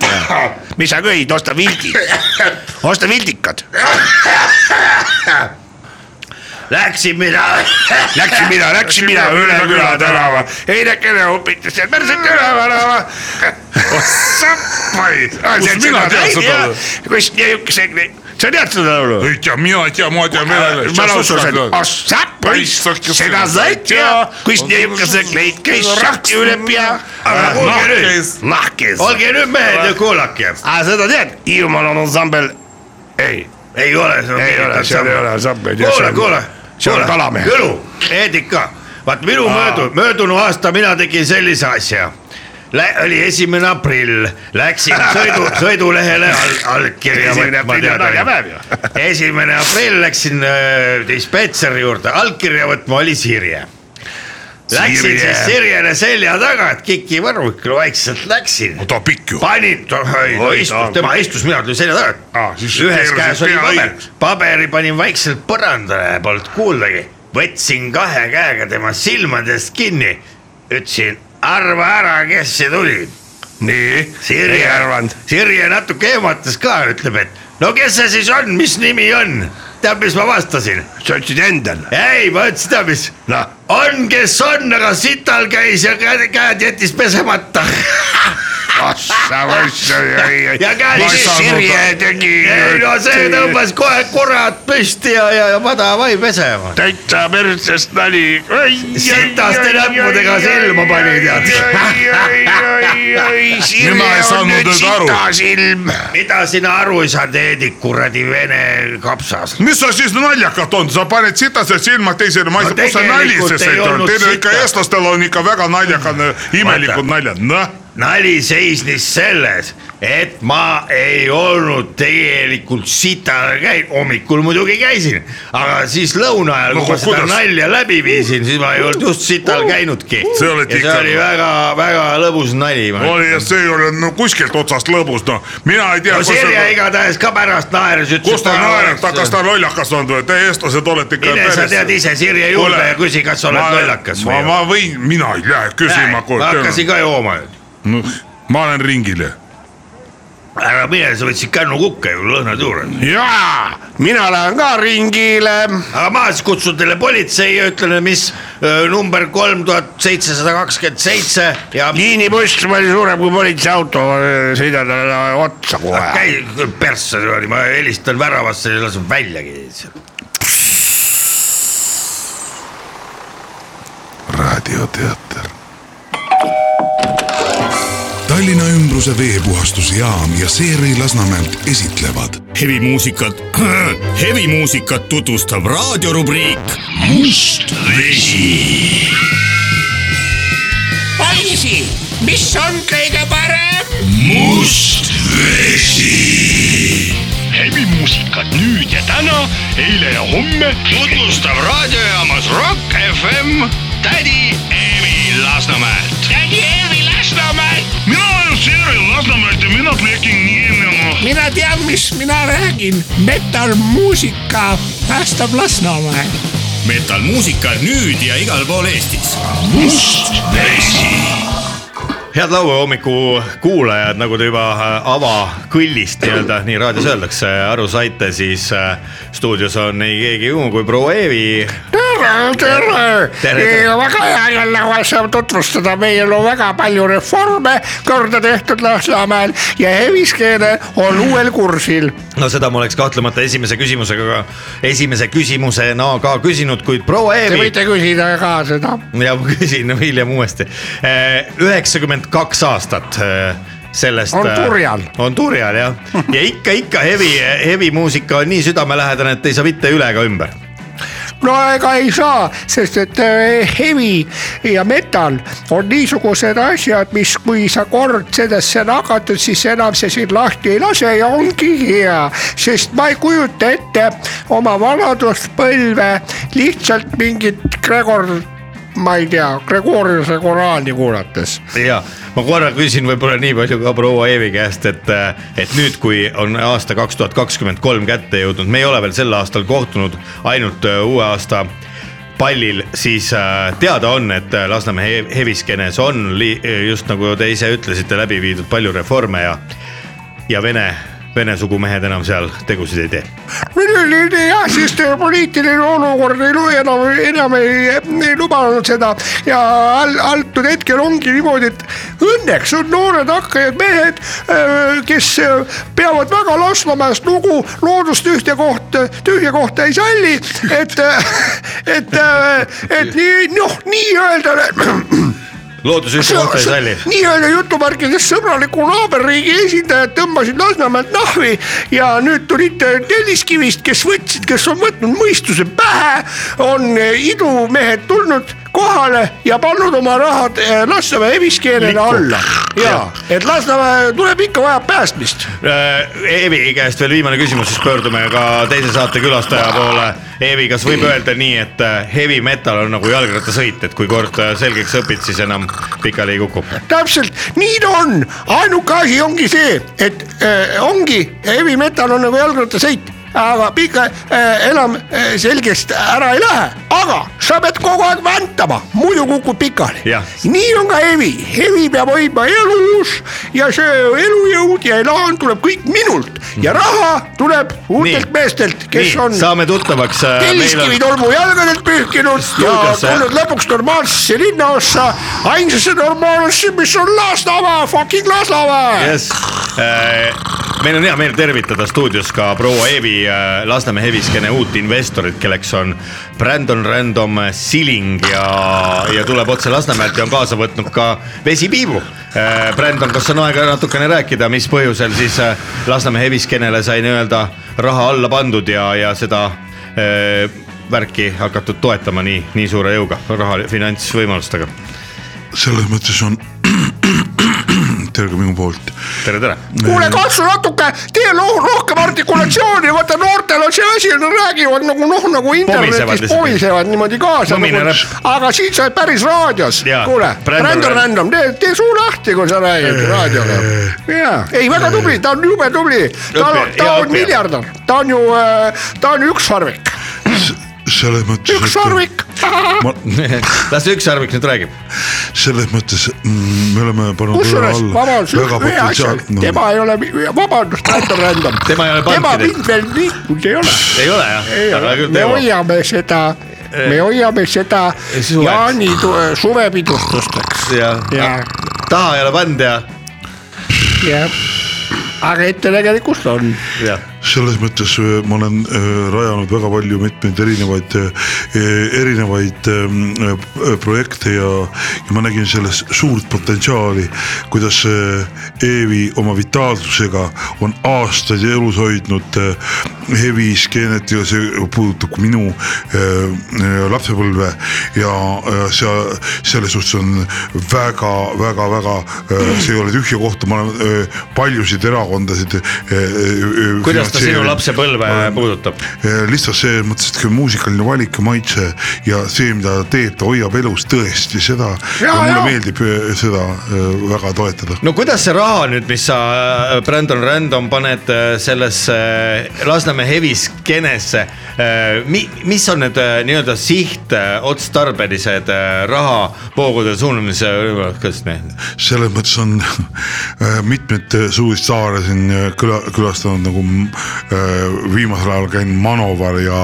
mis sa köid , osta vildid , osta vildikad .
Läksin mina ,
Läksin mina , läksin mina üle küla tänava , heidekene upitas seal päriselt üle värava . sappai .
Kust mina tean seda laulu?
kus niisuguse , sa tead seda laulu ?
ei tea , mina ei tea , ma tean .
ma laususin , oh sa poiss , seda sa ei tea , kus niisuguse kleit käis šahti üle pea .
aga kuulge nüüd ,
nahkes .
olge nüüd mehed ja kuulake .
aga seda tead , Hiiumaal on ansambel , ei ,
ei ole , see on
ei ole , seal ei ole . ansambel .
kuule , kuule ,
see on kalamehe.
Kõlu , Eedika , vaat minu möödu- , möödunud aasta mina tegin sellise asja . Lä- , oli esimene aprill , läksin sõidu , sõidulehele all , allkirja
Esimene
võtma
aprill on naljapäev ju. .
esimene aprill läksin äh, dispetšeri juurde allkirja võtma , oli Sirje . Läksin
Sirje.
siis Sirjele selja taga , et kiki võrgukil vaikselt läksin .
oota , pikk ju .
panin ,
Oi,
istus
taang. ,
tema istus , mina tulin selja taga
Ah, siis
ühes
keerasid
käes oli
pea
paber
õigeks. ,
paberi panin vaikselt põrandale , polnud kuuldagi . võtsin kahe käega tema silmadest kinni , ütlesin , arva ära , kes see tuli .
nii , ei
Sirje
arvanud .,
Sirje natuke ehmatas ka , ütleb , et no kes see siis on , mis nimi on ? tead , mis ma vastasin ?
sa ütlesid endale ,
ei , ma ütlesin , tead mis ,
noh ,
on , kes on , aga sital käis ja käed, käed jättis pesemata .
oh sa poiss , ei , ei .
ja käed
mis
jättis
Sirje tegi ?
ei no see tõmbas kohe kurat püsti ja , ja , ja padava ei pesema .
täitsa persest nali .
Sitaste näppudega silma pani, tead.
Sirje
Mina ei
on
saanud
nüüd
nüüd aru.
sitasilm .
mida sina aru ei saa , teedik kuradi vene kapsas .
mis sa siis naljakalt on , sa paned sitased silmad teisele , ma ei
No
saa , kus sa nalja
tegelikult
siis
ei
ei
olnud
olnud , teil on ikka
sita.
eestlastel on ikka väga naljakad , imelikud naljad , noh .
nali seisnes selles , et ma ei olnud tegelikult sitale käinud , hommikul muidugi käisin , aga siis lõuna ajal ,
No
kui ma seda
kuidas? Uh,
nalja läbi viisin , siis ma ei olnud just sital käinudki .
See
ja
olete
see
ikka-
oli väga-väga lõbus nali . no
oli , see ei ole no kuskilt otsast lõbus , noh , mina ei tea .
Sirje igatahes ka pärast naeris , ütles .
kus ta naerab , ta kas ta lollakas on või , te eestlased olete ikka .
mine sa tead ise Sirje juurde
Kuule,
ja küsi , kas sa oled lollakas
või ?
või
ma , ma võin , mina ei lähe küsima , kui
ma hakkasin ka jooma nüüd .
No, ma lähen ringile .
ära mine , sa võtsid kännu kukka ju , lõhnad juures .
jaa , mina lähen ka ringile .
aga ma siis kutsun teile politsei ja ütlen , mis öö, number kolm tuhat seitsesada kakskümmend seitse ja
liinibuss palju suurem kui politseiauto , sõidan talle otsa kohe .
Ah, käi persse , ma helistan väravasse ja lasen väljagi .
raadioteater . Tallinna ümbruse veepuhastusjaam ja Seeri Lasnamäelt esitlevad
hevimuusikat , hevimuusikat tutvustab raadiorubriik Must vesi .
poisi , mis on kõige parem ?
must vesi .
hevimuusikat nüüd ja täna , eile ja homme tutvustab raadiojaamas Rock FM tädi Eemi Lasnamäelt .
tädi Eevi Lasnamäelt .
mina olen Sirje Lasnamäelt ja mina plekin nii enne .
mina tean , mis mina räägin , metalmuusika päästab Lasnamäe .
metallmuusika nüüd ja igal pool Eestis . must vesi .
head laupäeva hommiku kuulajad , nagu te juba äh, avakõllist nii-öelda , nii raadios öeldakse , aru saite , siis äh, stuudios on ei keegi muu kui proua Eevi .
tere , tere,
Tere, tere.
Ja väga hea jälle saab tutvustada , meil on väga palju reforme korda tehtud Lasnamäel ja heviskeene on uuel kursil .
no seda ma oleks kahtlemata esimese küsimusega ka , esimese küsimusena ka küsinud , kuid proua
Te
Eevi .
võite küsida ka seda .
ja ma küsin hiljem uuesti . üheksakümmend kaks aastat eh, sellest .
On turjal.
on turjal jah , ja ikka , ikka hevi , hevimuusika on nii südamelähedane , et ei saa mitte üle ega ümber .
no ega ei saa , sest et äh, hevi ja metal on niisugused asjad , mis , kui sa kord sellesse nakatud , siis enam see sind lahti ei lase ja ongi hea . sest ma ei kujuta ette oma vanaduspõlve lihtsalt mingit Gregor , ma ei tea , Gregoriuse koraani kuulates .
ja ma korra küsin võib-olla nii palju ka proua Eevi käest , et , et nüüd , kui on aasta kaks tuhat kakskümmend kolm kätte jõudnud , me ei ole veel sel aastal kohtunud , ainult eh, uue aasta pallil , siis eh, teada on , et eh, Lasnamäe he- heviskenes on li- just nagu te ise ütlesite , läbi viidud palju reforme ja , ja vene , vene sugumehed enam seal tegusid ei tee .
jah , sest poliitiline olukord ei lu- enam , enam ei, ei lubanud seda ja all , antud hetkel ongi niimoodi , et õnneks on noored hakkajad mehed , kes öö, peavad väga Lasnamäest lugu , loodust ühte kohta , tühja kohta ei salli , et , et , et nii , noh , nii-öelda
loodus ühte kohta ei salli .
nii-öelda jutumärkides sõbraliku naaberriigi esindajad tõmbasid Lasnamäelt nahvi ja nüüd tulid äh, Telliskivist , kes võtsid , kes on võtnud mõistuse pähe , on eh, idumehed tulnud kohale ja pannud oma rahad eh, Lasnamäe eviskeelele alla ja et Lasnamäe tuleb ikka , vajab päästmist .
Äh, Eevi käest veel viimane küsimus , siis pöördume ka teise saate külastaja poole . Eevi , kas võib öelda nii , et äh, heavy metal on nagu jalgrattasõit , et kui kord äh, selgeks õpid , siis enam pikali ei kuku ?
täpselt nii ta on , ainuke asi ongi see , et äh, ongi heavy metal on nagu jalgrattasõit , aga pika äh, enam äh, selgest ära ei lähe , aga sa pead kogu aeg väntama , muidu kukud pikali .
jah ,
nii on ka hevi , hevi peab hoidma elus ja see elujõud ja elaan tuleb kõik minult ja raha tuleb uutelt
Mhm. Nii.
meestelt , kes
nii
on ,
saame tuttavaks .
Äh,
äh,
telliskivi tolmu jalgadelt pühkinud ja
Stuudiosse.
tulnud lõpuks normaalsesse linnaossa , ainsasse normaalsesse , mis on Lasnamäe , fucking Lasnamäe .
Yes. meil on hea meel tervitada stuudios ka proua Eevi äh, Lasnamäe heviskene uut investorit , kelleks on Brandon Random Siling ja , ja tuleb otse Lasnamäelt ja on kaasa võtnud ka vesipiibu . Brandon , kas on aega natukene rääkida , mis põhjusel siis äh, Lasnamäe heviskenele sai nii-öelda raha alla pandud ja , ja seda äh, värki hakatud toetama nii , nii suure jõuga , raha , finantsvõimalustega .
selles mõttes on tere ka minu poolt .
tere , tere .
kuule , katsu natuke , tee lo- rohkem artikulatsiooni , vaata noortel on see asi , nad räägivad nagu noh , nagu internetis
lihtsalt.
poisevad niimoodi kaasa nagu-
Mõmine .
aga siin sa oled päris raadios ,
Jaa,
kuule ,
Brandon
Brandon
Random.
Random , tee , tee suu lahti , kui sa räägid raadioga . jaa , ei väga tubli , ta on jube tubli , ta on
Õppija, ,
ta
hea
on
õppija.
miljardär , ta on ju , ta on ju ükssarvik ,
selles mõttes .
ükssarvik .
las ükssarvik nüüd räägib .
selles mõttes mm, me oleme pannud ühe
kusjuures ,
alla
vabandust ,
väga
ühe asja
potentsiaal- , no,
tema ei ole , vabandust , Brandon Random ,
tema ei ole
tema
pannud .
mind veel liikunud ei ole
ei ole jah
Ei ,
aga
ole ,
küll
me
teevad .
hoiame seda ,
Eh.
me hoiame seda
suveks.
Jaani tu- suvepidustusteks
ja,
Ah.
ja ,
taha ei ole pannud ja ,
ja aga ettenägelikust on .
ja .
selles mõttes öö, ma olen öö, rajanud väga palju mitmeid erinevaid , erinevaid ähm, öö, projekte ja, ja ma nägin selles suurt potentsiaali , kuidas öö, Eevi oma vitaalsusega on aastaid elus hoidnud öö, hevi skeenet ja see puudutab minu öö, öö, lapsepõlve ja öö, seal selles suhtes on väga-väga-väga , äh, see ei ole tühja kohta , ma olen öö, paljusid erakondasid äh, öö,
kuidas ta sinu lapsepõlve puudutab ?
lihtsalt selles mõttes , et kui muusikaline valik ja maitse ja see , mida ta teeb , ta hoiab elus tõesti seda ja, ja
Jaa,
mulle
jaa.
meeldib eh, seda eh, väga toetada .
no kuidas see raha nüüd , mis sa , Brandon Random , paned äh, sellesse äh, Lasnamäe heviskenesse , mi- , mis on need äh, nii-öelda siht , otstarbelised äh, rahavoogude suunamise võimalused , need
selles mõttes on eh, mitmeid eh, suuri staare siin eh, küla , külastanud nagu mm, eh, viimasel ajal käinud Manovar ja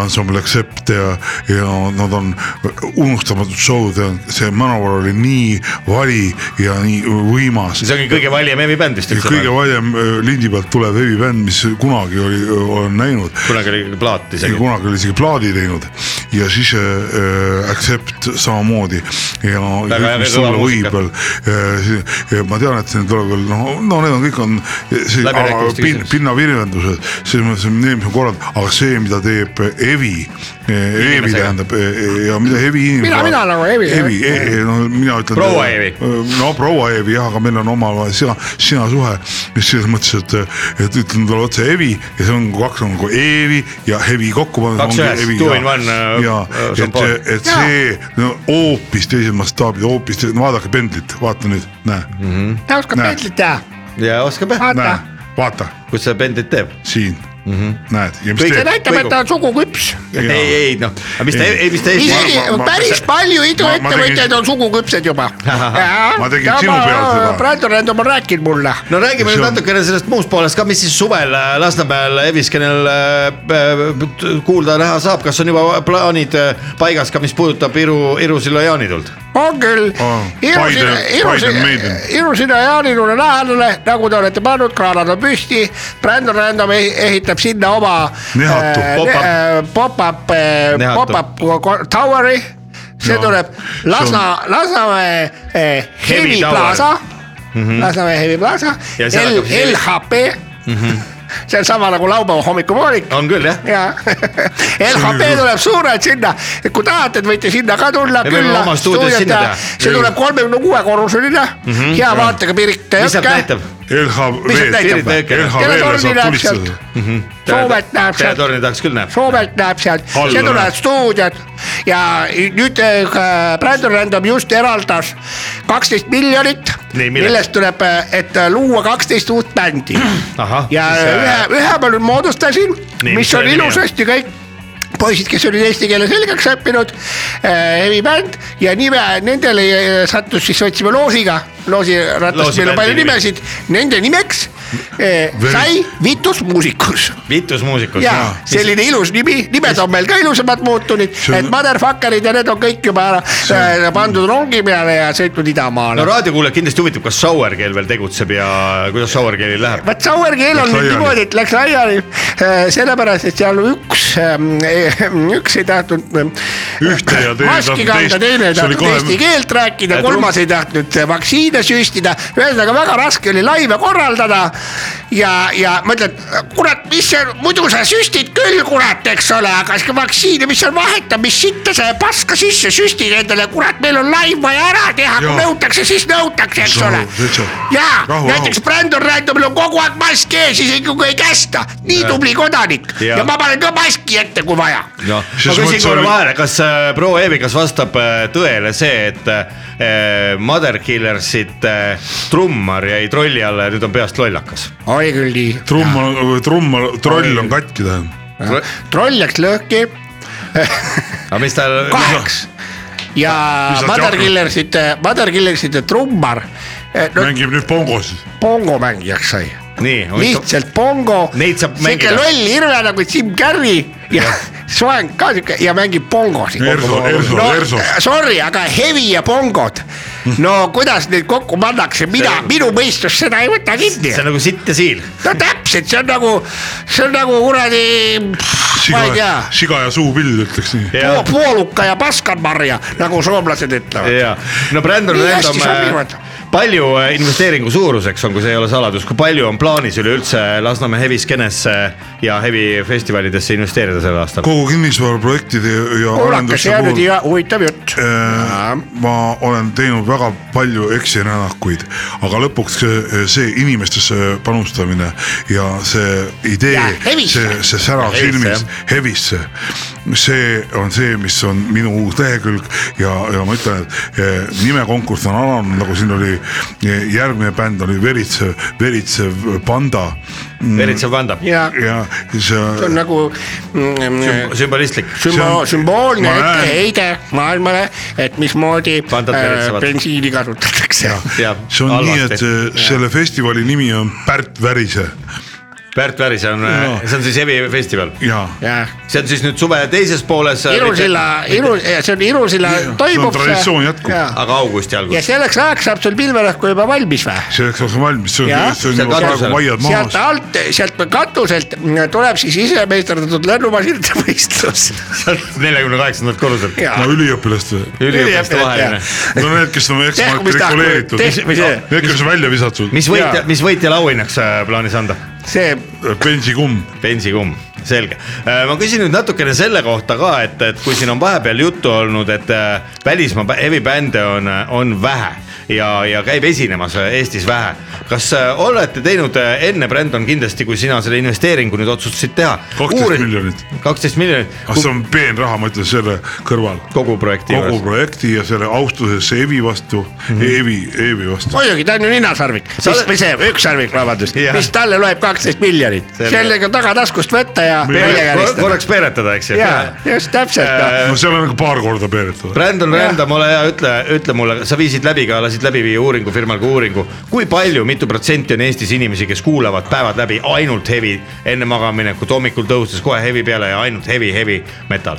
ansambel Accept ja , ja nad on äh, unustamatud show'd ja see Manovar oli nii vali ja nii võimas .
see ongi kõige valjem hevibänd vist üldse .
kõige valjem öö, lindi pealt tulev hevibänd , mis kunagi oli , olen näinud .
kunagi oli plaat isegi .
kunagi oli isegi plaadi teinud ja siis äh, Accept samamoodi ja .
Väga hea kõva muusika.
võib veel , ma tean , et siin tuleb veel noh , no need on kõik on see,
Läbirääkimiste
pin,
küsimus.
pinnavirvendused , selles mõttes on eelmised korrad , aga see , mida teeb Evi , Evi
Inimesega.
tähendab eh, ja mida Evi .
Mina- mina nagu Evi, jah.
Evi , no mina ütlen .
Proua Evi.
no proua Eevi jah , aga meil on omavahel sina , sina suhe , mis selles mõttes , et , et ütlen talle otse Evi ja see on kaks on nagu Eevi ja Hevi kokku pandud .
Kaks ühes, two in one, äh,
ja
äh, ,
et
šampoon. ,
et see no, hoopis teised mastaabid , hoopis teised , vaadake pendlit , vaata nüüd , näe mm . -hmm.
ta oskab
Näe.
meetrit teha .
ja oskab jah .
näe , vaata ,
kus see pendlit teeb ?
siin mm , -hmm. näed .
see näitab , et ta on suguküps .
ei , Mhm. ei noh , aga mis ta , ei mis ta
isegi päris palju iduettevõtjaid
tegin-
on suguküpsed juba .
Ma tegin sinu peal seda.
Brando Random on rääkinud mulle .
no räägime nüüd natukene sellest muust poolest ka , mis siis suvel äh, Lasnamäel Eviskenel äh, äh, kuulda-näha saab , kas on juba plaanid äh, paigas ka , mis puudutab Iru , Iru silla jaanituld ?
on küll
Oh,
Irusina ,
Biden- Biden
Irusina
Maiden. ,
Irusina jaanilule lähedale , nagu te olete pannud , kraanad on püsti . Brandon Random eh- ehitab sinna oma
Nihatu.
äh,
Pop-up.
ne- äh, pop-up ,
Nihatu.
pop-up ko- ko- tower'i . see
No,
tuleb
see on-
Lasna , Lasnamäe eh,
Heavy
Heavy
tower.
Plaza ,
Mhm.
Lasnamäe Heavy Plaza ,
Ja seal hakkab siis- Mhm.
LHP , see on sama nagu laupäeva hommikupoolik .
on küll jah .
ja LHP tuleb suurelt sinna , kui tahate , et võite sinna ka tulla
Me võime
külla
oma stuudios
stuudiot
sinna
teha.
teha.
see tuleb kolmekümne kuue korruseline mm ,
Mhm,
-hmm, hea
jah.
vaatega Pirita
mis sealt
jõkke .
näitab ?
Mis sealt näitab? Teletorni näeb sealt. Soomet näeb sealt.
teletorni tahaks küll näeb .
Soomet näeb sealt ,
Alla
see
näeb.
tuleb stuudiot ja nüüd äh, Brandon Random just eraldas kaksteist miljonit ,
Nii, milleks?
millest tuleb , et äh, luua kaksteist uut bändi .
ahah ,
ja ühe , ühe ma nüüd moodustasin ,
Ah, äh, Nii, mis
mis on
selle nimi on?
ilusasti kõik poisid , kes olid eesti keele selgeks õppinud äh, , hevibänd ja nime nendele äh, sattus siis , võtsime loosiga , loosiratast , meil
Loosibändi
on palju
nimi.
nimesid , nende nimeks äh,
Very-
sai Vitusmuusikus .
vitusmuusikus .
ja selline ilus nimi , nimed on meil ka ilusamad muutunud , et motherfuckerid ja need on kõik juba ära äh, pandud rongi peale ja sõitnud
no
idamaale .
raadiokuulajad kindlasti huvitab , kas Sauerkeel veel tegutseb ja äh, kuidas Sauerkeelil läheb ?
vot Sauer keel on
Läks
nüüd
laiali.
niimoodi , et läks laiali äh, sellepärast , et seal üks , üks ei tahtnud äh,
ühte ja teine
maski kanda , teine ei tahtnud eesti keelt rääkida , kolmas ei tahtnud äh, vaktsiine süstida , ühesõnaga väga raske oli laive korraldada . ja , ja ma ütlen , kurat , mis see , muidu sa süstid küll , kurat , eks ole , aga siis kui vaktsiini , mis seal vahetab , mis sitta sa paska sisse süstid endale , kurat , meil on laiv vaja ära teha , kui
Jaa.
nõutakse , siis nõutakse , eks ole jaa ,
Rahu,
näiteks Brandon Randomil on kogu aeg mask ees , isegi kui ei kästa , nii
Jah.
tubli kodanik
Jah.
ja. ja ma panen ka maski ette , kui vaja .
no ma
Siis
küsin
mõtlesin-
korra vahele , kas äh, proua Eevi , kas vastab äh, tõele see , et äh, Mother Killersit äh, trummar jäi trolli alla ja nüüd on peast lollakas ?
oli küll nii .
trummar , trummar , nagu troll on katki tähendab .
Äh. troll läks lõhki
aga mis tal ?
kaheks ja
Mis nad
Mother
jagu-
Killersite , Mother Killersite trummar eh, no, ,
mängib nüüd pongosid .
pongomängijaks sai .
nii ,
lihtsalt pongo ,
neid saab
siuke
mängida .
loll hirve nagu Jim Carrey ja soeng ka siuke ja mängib eh, pongosid . äh,
Erso , Erso , Erso .
Sorry , aga hevi ja pongod , no kuidas neid kokku pannakse , mina , minu mõistus seda ei võta kinni .
see on nagu sitt ja siil .
no täpselt , see on nagu , see on nagu kuradi , ma ei tea
siga ,, siga ja suupill ütleks nii .
po- pooluka ja paskanmarja , nagu soomlased ütlevad .
ja , no Brändon
Nii hästi
Lendam
sobivad. ,
palju äh, investeeringu suuruseks on , kui see ei ole saladus , kui palju on plaanis üleüldse Lasnamäe heviskenesse ja hevifestivalidesse investeerida sel aastal ?
kogu kinnisvaraprojektide ja
kuulake , see on nüüd hea huvitav jutt .
Äh, ma olen teinud väga palju eksirännakuid , aga lõpuks see- see inimestesse panustamine ja see idee
Ja , hevisse.
see , see sära
Ja hevisse,
silmis , hevisse , see on see , mis on minu uus lehekülg ja , ja ma ütlen , et eh, nimekonkurss on alanud , nagu siin oli , järgmine bänd oli Veritsev , Veritsev Panda .
Veritsev Panda .
ja ,
ja
see
see
on nagu
Sümb- sümbolistlik .
sümbool , sümboolne
Ma näen-
etteheide maailmale , et mismoodi
Pandad
äh,
veretsevad.
bensiini kasutatakse .
see on nii , et eh, selle festivali nimi on Pärt Värise
Pärt Värise on äh,
Jaa. ,
see on siis hevifestival .
ja
jah .
see on siis nüüd suve teises pooles . äh,
Irusilla , Iru , see on Irusilla toimub ja,
aga augusti
ja
alguses .
selleks ajaks saab sul pilvelõhku juba valmis või ?
selleks on valmis , see
Jah.
on , see on juba praegu vaiad
sealt
maas .
alt , sealt katuselt tuleb siis isemeisterdatud lennumasinate võistlus .
sealt neljakümne kaheksandalt korruselt .
no üliõpilaste .
Üliõpilaste vaheline.
no need , kes on eksmatrikuleeritud , need , kes on välja visatud .
mis võitja , mis võitjale auhinnaks äh, plaanis anda ?
see .
bensikumm .
bensikumm , selge . ma küsin nüüd natukene selle kohta ka , et , et kui siin on vahepeal juttu olnud , et äh, välismaa bä- hevibände on , on vähe ja , ja käib esinemas äh, Eestis vähe . kas äh, olete teinud äh, enne , Brändon , kindlasti , kui sina selle investeeringu nüüd otsustasid teha ?
kaksteist miljonit .
kaksteist miljonit .
ah , see on peen raha , ma ütlen selle kõrval .
kogu projekti
kogu
juures.
projekti ja selle austusesse Evi vastu ,
Mhm.
Evi , Evi vastu .
muidugi , ta on ju ninasarvik ,
Sa
mis
oled- ,
või see ükssarvik , vabandust ,
Jah.
mis talle loeb kaksteist miljonit ,
Selle-
sellega tagataskust võtta ja välja käristada .
korraks peeretada , eks ju .
ja , just täpselt . noh.
no seal on nagu paar korda peeretada .
Brändon Rändam , ole hea , ütle , ütle mulle , sa viisid läbi ka , lasid läbi viia uuringufirmal ka uuringu , kui palju , mitu protsenti on Eestis inimesi , kes kuulavad päevad läbi ainult heavy enne magamaminekut , hommikul tõustes kohe heavy peale ja ainult heavy , heavy metal .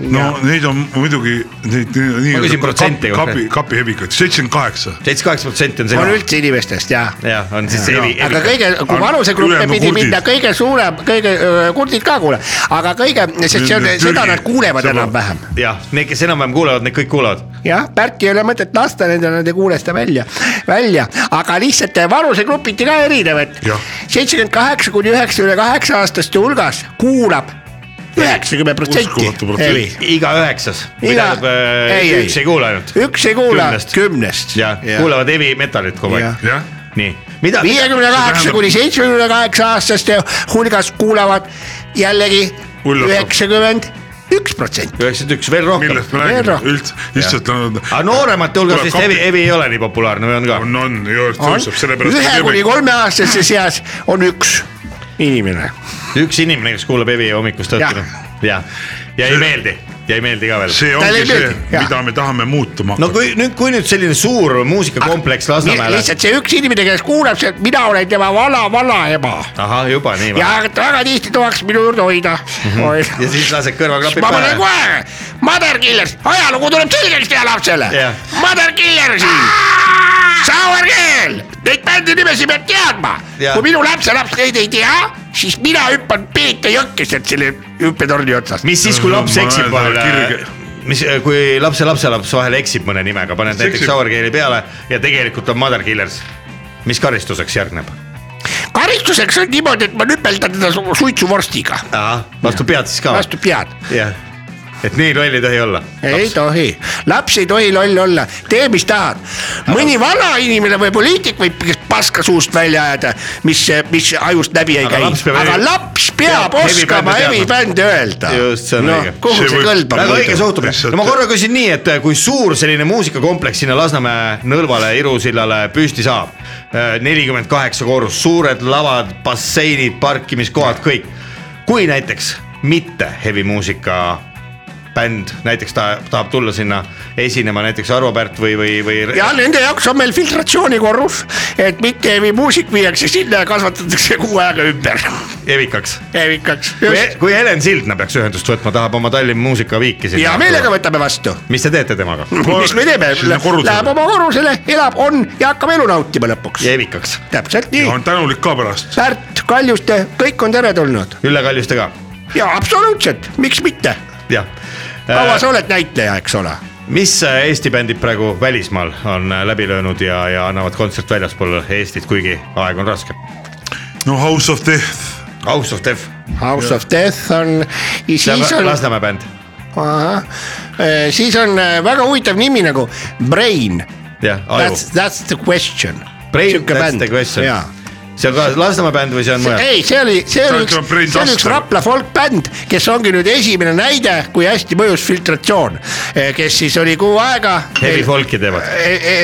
no neid on muidugi , neid
Ma küsin
nii-öelda
protsenti
kapi , kapi ,
konkreetselt.
kapihevikaid , seitsekümmend kaheksa .
seitsekümmend kaheksa protsenti on see .
on üldse inimestest ja .
jah , on siis heavy ,
aga
heavy .
kõige , kui vanusegruppe pidi minna , kõige suurem , kõige öö, kurdid ka kuule , aga kõige , sest see on , seda nad kuulevad enam-vähem .
jah , need , kes enam-vähem kuulevad , need kõik kuulevad .
jah , Pärki ei ole mõtet lasta nendel , nad ei kuule seda välja , välja , aga lihtsalt vanusegrupiti ka erinev , et seitsekümmend kaheksa kuni üheksakümne kaheksa aastaste hulgas kuulab üheksakümmend protsenti hevi .
iga üheksas .
Iga-
tähendab
ei,
äh,
ei.
üks ei kuula ainult .
Üks ei kuula kümnest .
jah ,
Jah.
kuulevad heavy metalit kogu
Jah.
aeg . nii , mida .
viiekümne kaheksa kuni seitsmekümne kaheksa aastaste hulgas kuulavad jällegi
Üllatav.
üheksakümmend üks protsenti .
üheksakümmend üks , veel rohkem .
millest me
Veel
räägime
rohkem.
üldse , lihtsalt on .
aga nooremate hulgas vist hevi , hevi ei ole nii populaarne või on ka ?
on , on ,
on ühe kuni kolmeaastaste seas on üks inimene .
üks inimene , kes kuulab hevi hommikust õhtuni . ja , ja ei meeldi , ja ei meeldi ka veel .
see ongi see , mida me tahame muutuma
no kui nüüd , kui nüüd selline suur muusikakompleks Lasnamäele .
lihtsalt see üks inimene , kes kuulab , see , mina olen tema vana-vanaema
ahah , juba nii
ja . väga tihti tahaks minu juurde hoida .
Mhm. ja siis lased kõrvaklapid
ma panen . kohe , Mother Killers , ajalugu tuleb selgeks teha lapsele
Jah. .
Mother Killers , Sour Girl , neid bändi nimesid peab teadma .
Jah.
kui minu lapselaps neid ei tea , siis mina hüppan Peete jõkkeselt selle hüppetorni otsast .
mis siis , kui laps eksib vahel ? mis , kui lapse lapselaps vahel eksib mõne nimega , paned näiteks
Eksib.
Sour Keeli peale ja tegelikult on Mother Killers . mis karistuseks järgneb ?
karistuseks on niimoodi , et ma nüpeldan teda su- suitsuvorstiga ,
ahah , vastu pead siis ka ?
vastu pead .
jah , et nii loll ei tohi olla .
ei tohi , laps ei tohi loll olla , tee mis tahad . mõni vanainimene või poliitik võib paska suust välja ajada , mis , mis ajust läbi ei
Aga
käi ,
laps peab
aga
hevi-
laps peab,
peab hevi
oskama
bände teadma.
hevibändi öelda .
just , see on
no,
õige .
kuhu see, see kõlbab ?
väga õige suhtumine , no ma korra küsin nii , et eh, kui suur selline muusikakompleks sinna Lasnamäe nõlvale , Irusillale püsti saab ? nelikümmend kaheksa korrust , suured lavad , basseinid , parkimiskohad , kõik . kui näiteks mitte hevimuusika bänd näiteks ta tahab tulla sinna esinema näiteks Arvo Pärt või , või , või .
ja nende jaoks on meil filtratsioonikorrus , et mitte ei vii- muusik viiakse sinna ja kasvatatakse kuu ajaga ümber .
evikaks .
evikaks ,
kui, E-,
just .
kui Helen Sildna peaks ühendust võtma , tahab oma Tallinna muusikaviiki .
hea meelega . võtame vastu .
mis te teete temaga ?
mis me teeme , läheb oma korrusele , elab , on ja hakkab elu nautima lõpuks .
ja evikaks .
täpselt nii .
on tänulik ka pärast .
Pärt , Kaljuste , kõik on teretulnud
Ülle Kaljuste ka .
ja absoluutselt , miks mitte ,
jah . Eh, Äh.
kaua sa oled näitleja , eks ole .
mis äh, Eesti bändid praegu välismaal on äh, läbi löönud ja , ja annavad kontsert väljaspool Eestit , kuigi aeg on raske ?
no House of Death .
House of Death .
House of Death on , siis on .
Lasnamäe bänd .
siis on äh, väga huvitav nimi nagu Brain .
jah , aju .
That's , that's the question .
Brain , that's the question
jaa .
see on ka Lasnamäe bänd või see on mujal ?
ei , see oli , see oli üks , see oli üks Rapla folkbänd , kes ongi nüüd esimene näide , kui hästi mõjus filtratsioon , kes siis oli kuu aega .
Heavy folk'i teevad .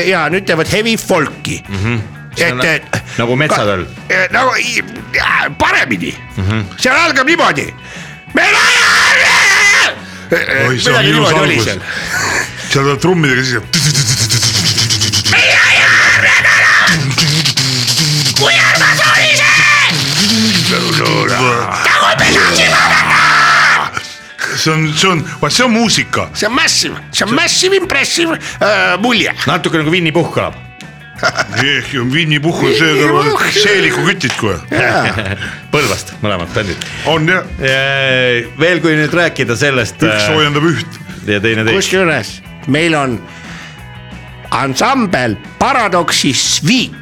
ja Äh, nüüd teevad heavy folk'i mm . -hmm. et , et .
Mhm. nagu metsatööl .
nagu i- jaa, paremini ,
Mhm.
seal algab niimoodi .
oi , see
midagi
on ilus
niimoodi oli
algus
seal. .
seal tuleb trummidega siis .
kui armas oli see ?
see on , see on , vaat see on muusika .
see on massive , see on massive impressive äh, mulje .
natuke nagu Winny Puhh kõlab .
ehk ju Winny Puhh on see kõrval
Winnie , Puhh.
seelikukütid kohe .
Põlvast mõlemad bändid .
on jah .
veel , kui nüüd rääkida sellest .
Üks soojendab
üht . ja teine teist .
kusjuures meil on ansambel Paradoksi Sweet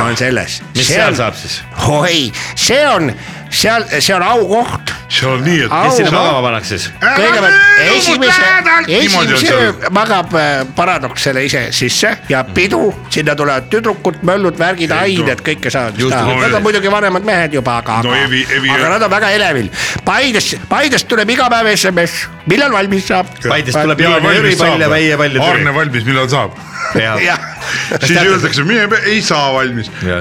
on selles .
mis seal saab ? siis ?
oi , see on seal , see on aukoht .
see on nii , et
kes sinna magama pannakse siis ?
kõigepealt esimese ,
Niimoodi on
esimese
seal.
öö magab äh, Paradoks selle ise sisse ja pidu , sinna tulevad tüdrukud , möllud , värgid , ained , kõike saavad , mis
Just,
tahavad ,
no
nad on
Evi.
muidugi vanemad mehed juba , aga ,
No
aga
Evi- Evi-
aga nad on väga elevil . Paidesse , Paidest tuleb iga päev SMS , millal valmis saab .
Paidest tuleb Jaani jõripall ja Väie pall ja türi .
Arne valmis , millal saab .
Jah.
siis öeldakse , mine , ei saa valmis . ja ,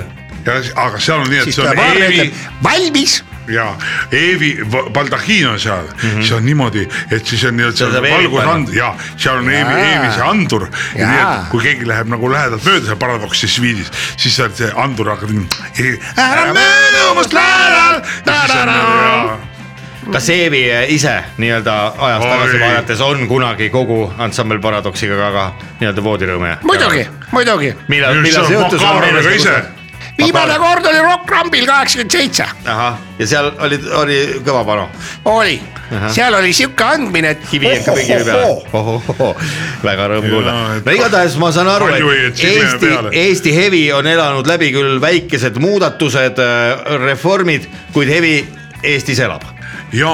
aga seal on nii , et
Siis
see on
tuleb Arne
Eevi
ütleb, . valmis .
ja Eevi Va- baldahiin on seal mm , -hmm. see on niimoodi , et siis on nii-öelda
Mhm. saab
seal
Eevi
valgusand
panna.
ja seal on Eevi ,
Jaa.
Eevi see andur . ja nii ,
Jaa.
et kui keegi läheb nagu lähedalt mööda seal paradoksi sviidis , siis seal see andur hakkab . ära mööda omast lähedal .
kas Eevi äh, ise nii-öelda ajas
Oi.
tagasi vaadates on kunagi kogu ansambel Paradoksiga ka, ka nii-öelda voodirõõme ?
muidugi , muidugi .
millal , millal see juhtus ?
viimane kord oli Rock Rambil kaheksakümmend seitse ,
ahah , ja seal oli , oli kõva panu .
oli
Ahah. ,
seal oli sihuke andmine , et .
kivi ikka või kivi peale . ohohohoo , väga rõõm kuulda . no igatahes ma saan aru ,
palju ei, et
et
sille
Eesti
peale. ,
Eesti hevi on elanud läbi küll väikesed muudatused , reformid , kuid hevi Eestis elab .
ja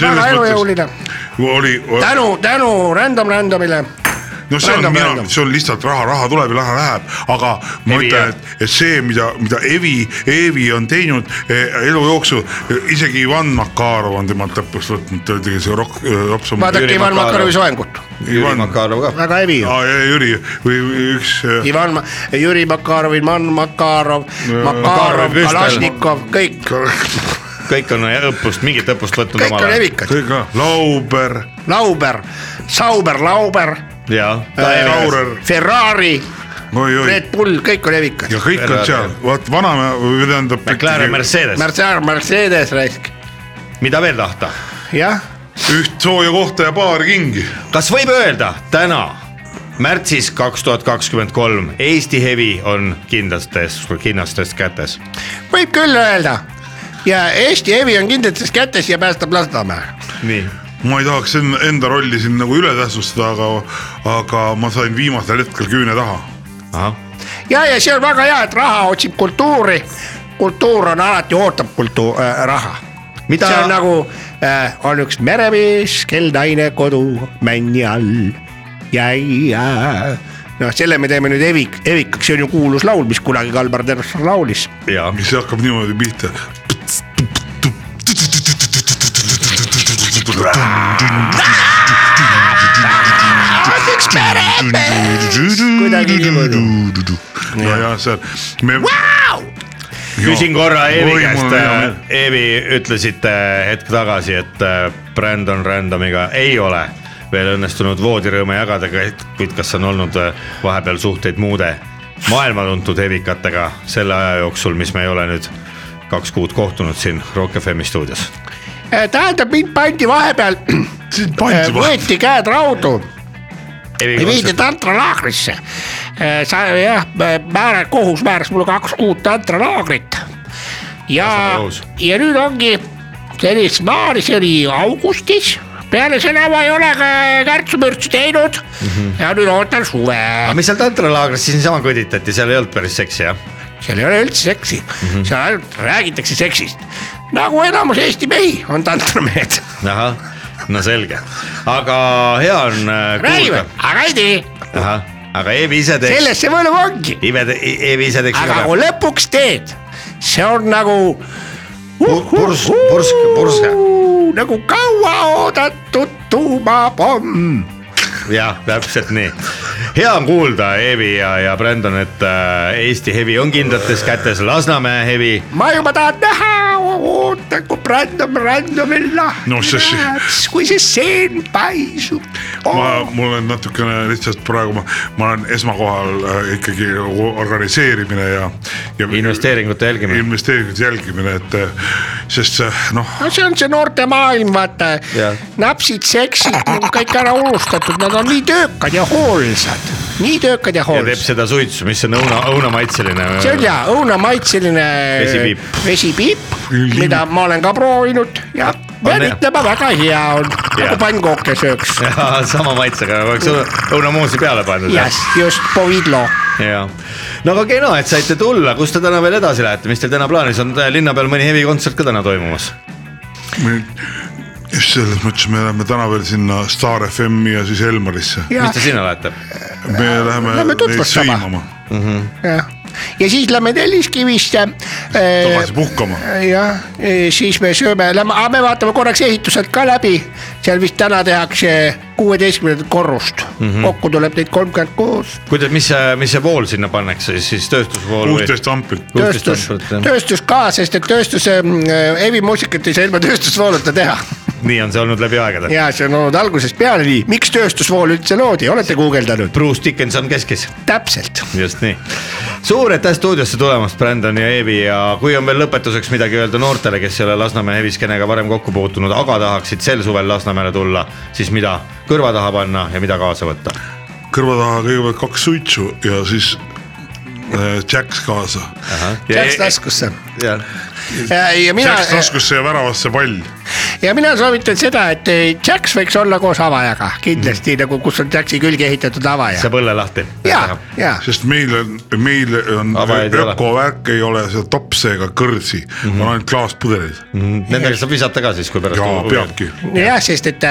väga elujõuline ,
oli .
tänu , tänu Random Randomile .
no see on minu , see on lihtsalt raha , raha tuleb ja raha läheb , aga ma ütlen , et , et see , mida , mida Evi , Eevi on teinud eh, elu jooksul , isegi Ivan Makarov on temalt õppust võtnud , ta tegi see e, rokk , rops .
vaadake Ivan Makarovi . soengut ,
Ivan Makarov
ka .
väga hevi ju .
Jüri või või üks . e,
Ivan , Jüri Makarov , Ivan Makarov ,
Makarov,
Makarov ,
Püstel.
Kalašnikov , kõik ,
kõik on õppust , mingit õppust võtnud
kõik on
omale .
hevikad ,
kõik on , Lauber .
Lauber , Sauber , Lauber ,
jaa .
Äh,
Ferrari ,
oi-oi ,
Red Bull , kõik on hevikad .
ja kõik on seal , vaat vanamehe või tähendab .
McLaren Äh, Mercedes ,
Mercedes , Mercedes raisk ,
mida veel tahta ?
jah ,
üht sooja kohta ja paar kingi .
kas võib öelda täna , märtsis kaks tuhat kakskümmend kolm , Eesti hevi on kindlastes , kindlastes kätes .
võib küll öelda ja Eesti hevi on kindlates kätes ja päästab Lasnamäe .
nii .
ma ei tahaks en- enda rolli siin nagu üle tähtsustada , aga , aga ma sain viimasel hetkel küüne taha
ahah ,
ja , ja see on väga hea , et raha otsib kultuuri , kultuur on alati ootab kultu- äh, , raha .
Mida-
see on nagu äh, , on üks meremees , kel naine kodu männi all jäi äh. . noh , selle me teeme nüüd evik- , evikaks , see on ju kuulus laul , mis kunagi Kalmar Terras laulis .
jaa .
see hakkab niimoodi pihta .
kuidagi niimoodi .
ja , ja seal me .
küsin korra Eevi
Oi, mul
käest äh,
on hea meel. ,
Eevi ütlesite hetk tagasi , et äh, Brandon äh, Randomiga ei ole veel õnnestunud voodirõõme jagada , kuid kas on olnud äh, vahepeal suhteid muude maailma tuntud hevikatega selle aja jooksul , mis me ei ole nüüd kaks kuud kohtunud siin Rock FM'i stuudios .
Äh, tähendab , mind pandi vahepeal , võeti käed raudu ja viidi tantralaagrisse . Äh, sa jah , määrad , kohus määras mulle kaks kuud tantralaagrit . ja , ja nüüd ongi sellist maani , see oli augustis , peale seda ma ei ole ka kärtsumürtsi teinud ja nüüd ootan suve .
aga Ah, mis seal tantralaagris siis niisama kõditati , seal ei olnud päris seksi jah ?
seal ei ole üldse seksi mm , -hmm. seal ainult räägitakse seksist . nagu enamus Eesti mehi on tantramehed .
ahah , no selge , aga hea on äh,
räägime
kuulda ,.
aga ei tee ,
ahah , aga Eevi ise teeks .
selles see võlu ongi .
Ive , Eevi ise teeks .
aga kui lõpuks teed , see on nagu
purs , purs , purske .
nagu kauaoodatud tuumapomm .
jah , täpselt nii . hea on kuulda , Eevi ja , ja Brändon , et äh, Eesti hevi on kindlates kätes , Lasnamäe hevi .
ma juba tahan näha , oota kui random , randomil lahti
No see-
läheb , kui see seen paisub .
ma , mul on natukene lihtsalt praegu ma , ma olen esmakohal äh, ikkagi nagu organiseerimine ja, ja .
investeeringute jälgimine .
investeeringute jälgimine , et äh, sest äh, noh ,
no see on see noorte maailm , vaata
Jah. .
napsid , seksid , kõik ära unustatud , nad on nii töökad ja hoolsad , nii töökad ja
ja
hoolsad .
teeb seda suitsu , mis on õuna , õunamaitseline .
see on hea , õunamaitseline
Vesipiip. Mhm.
vesipiip , mida ma olen ka proovinud ja pean
hea.
ütlema , väga hea on ,
Jaa.
nagu pannkooke sööks .
sama maitsega , oleks õuna- õunamoosi peale pandud .
jah , just , Povidlo .
ja , no aga kena , et saite tulla , kus te täna veel edasi lähete , mis teil täna plaanis on , linna peal mõni hevikontsert ka täna toimumas ?
me- just selles mõttes me läheme täna veel sinna Star FM-i ja siis Elmarisse .
Jaa. Mis te
sinna lähete ?
me läheme,
Äh, Lähme
neid
tutvustama.
sõimama mm . -hmm.
ja siis lähme Telliskivisse .
tagasi puhkama .
jah , siis me sööme , lähme , aga me vaatame korraks ehituselt ka läbi , seal vist täna tehakse kuueteistkümnendat korrust mm ,
Mhm.
-hmm. kokku tuleb neid kolmkümmend kuus .
kuidas , mis see , mis see vool sinna pannakse siis , siis tööstusvool ?
kuusteist amplit .
tööstus , tööstus ka , sest et tööstuse mm, hevimuusikat ei saa ilma tööstusvooluta teha
nii on see olnud läbi aegade .
ja see on olnud algusest peale nii , miks tööstusvool üldse loodi , olete guugeldanud ?
Bruce Dickinson keskis .
täpselt ,
just nii , suur aitäh stuudiosse tulemast , Brändon ja Eevi ja kui on veel lõpetuseks midagi öelda noortele , kes ei ole Lasnamäe heviskenega varem kokku puutunud , aga tahaksid sel suvel Lasnamäele tulla , siis mida kõrva taha panna ja mida kaasa võtta ?
kõrva taha kõigepealt kaks suitsu ja siis äh, Jacks kaasa .
e-
peaks taskusse .
jah ,
ja , ja mina ,
Jacks taskusse ja väravasse pall .
ja mina soovitan seda , et eh, Jacks võiks olla koos avajaga kindlasti nagu , kus on Jacksi külge ehitatud avaja .
Mm. saab õlle lahti .
ja , ja
sest meil on , meil on
Avajaid ei ole.
ökovärk ei ole seda topse ega kõrsi mm , -hmm. on ainult klaaspudelid mm .
-hmm. Nendega saab visata ka siis , kui pärast .
jaa , peabki .
jah , sest et äh,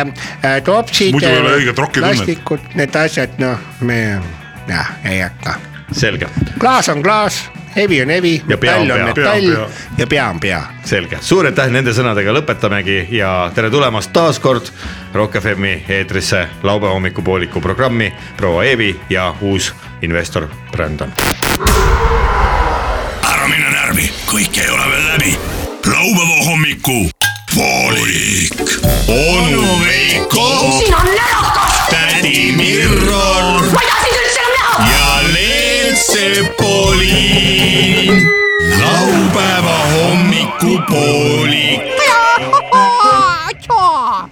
topsid
Muidu ei ole õiget , rokitõmmet.
plastikud , need asjad , noh , me jah , ei hakka .
selge ,
klaas on klaas , hevi on hevi ,
Ja pea on
metall on
pea.
metall
Pea on
ja pea on pea .
selge , suur aitäh nende sõnadega lõpetamegi ja tere tulemast taas kord Rock FM-i eetrisse laupäeva hommikupooliku programmi proua Eevi ja uus investor Brändon .
ära mine närvi , kõik ei ole veel läbi . laupäeva hommiku poolik . onu Veiko ,
sina närakas ,
tädi Mirro
ma ei taha sind üldse enam näha .
ja Leelsepoliin . laupäeva hommikupoolik .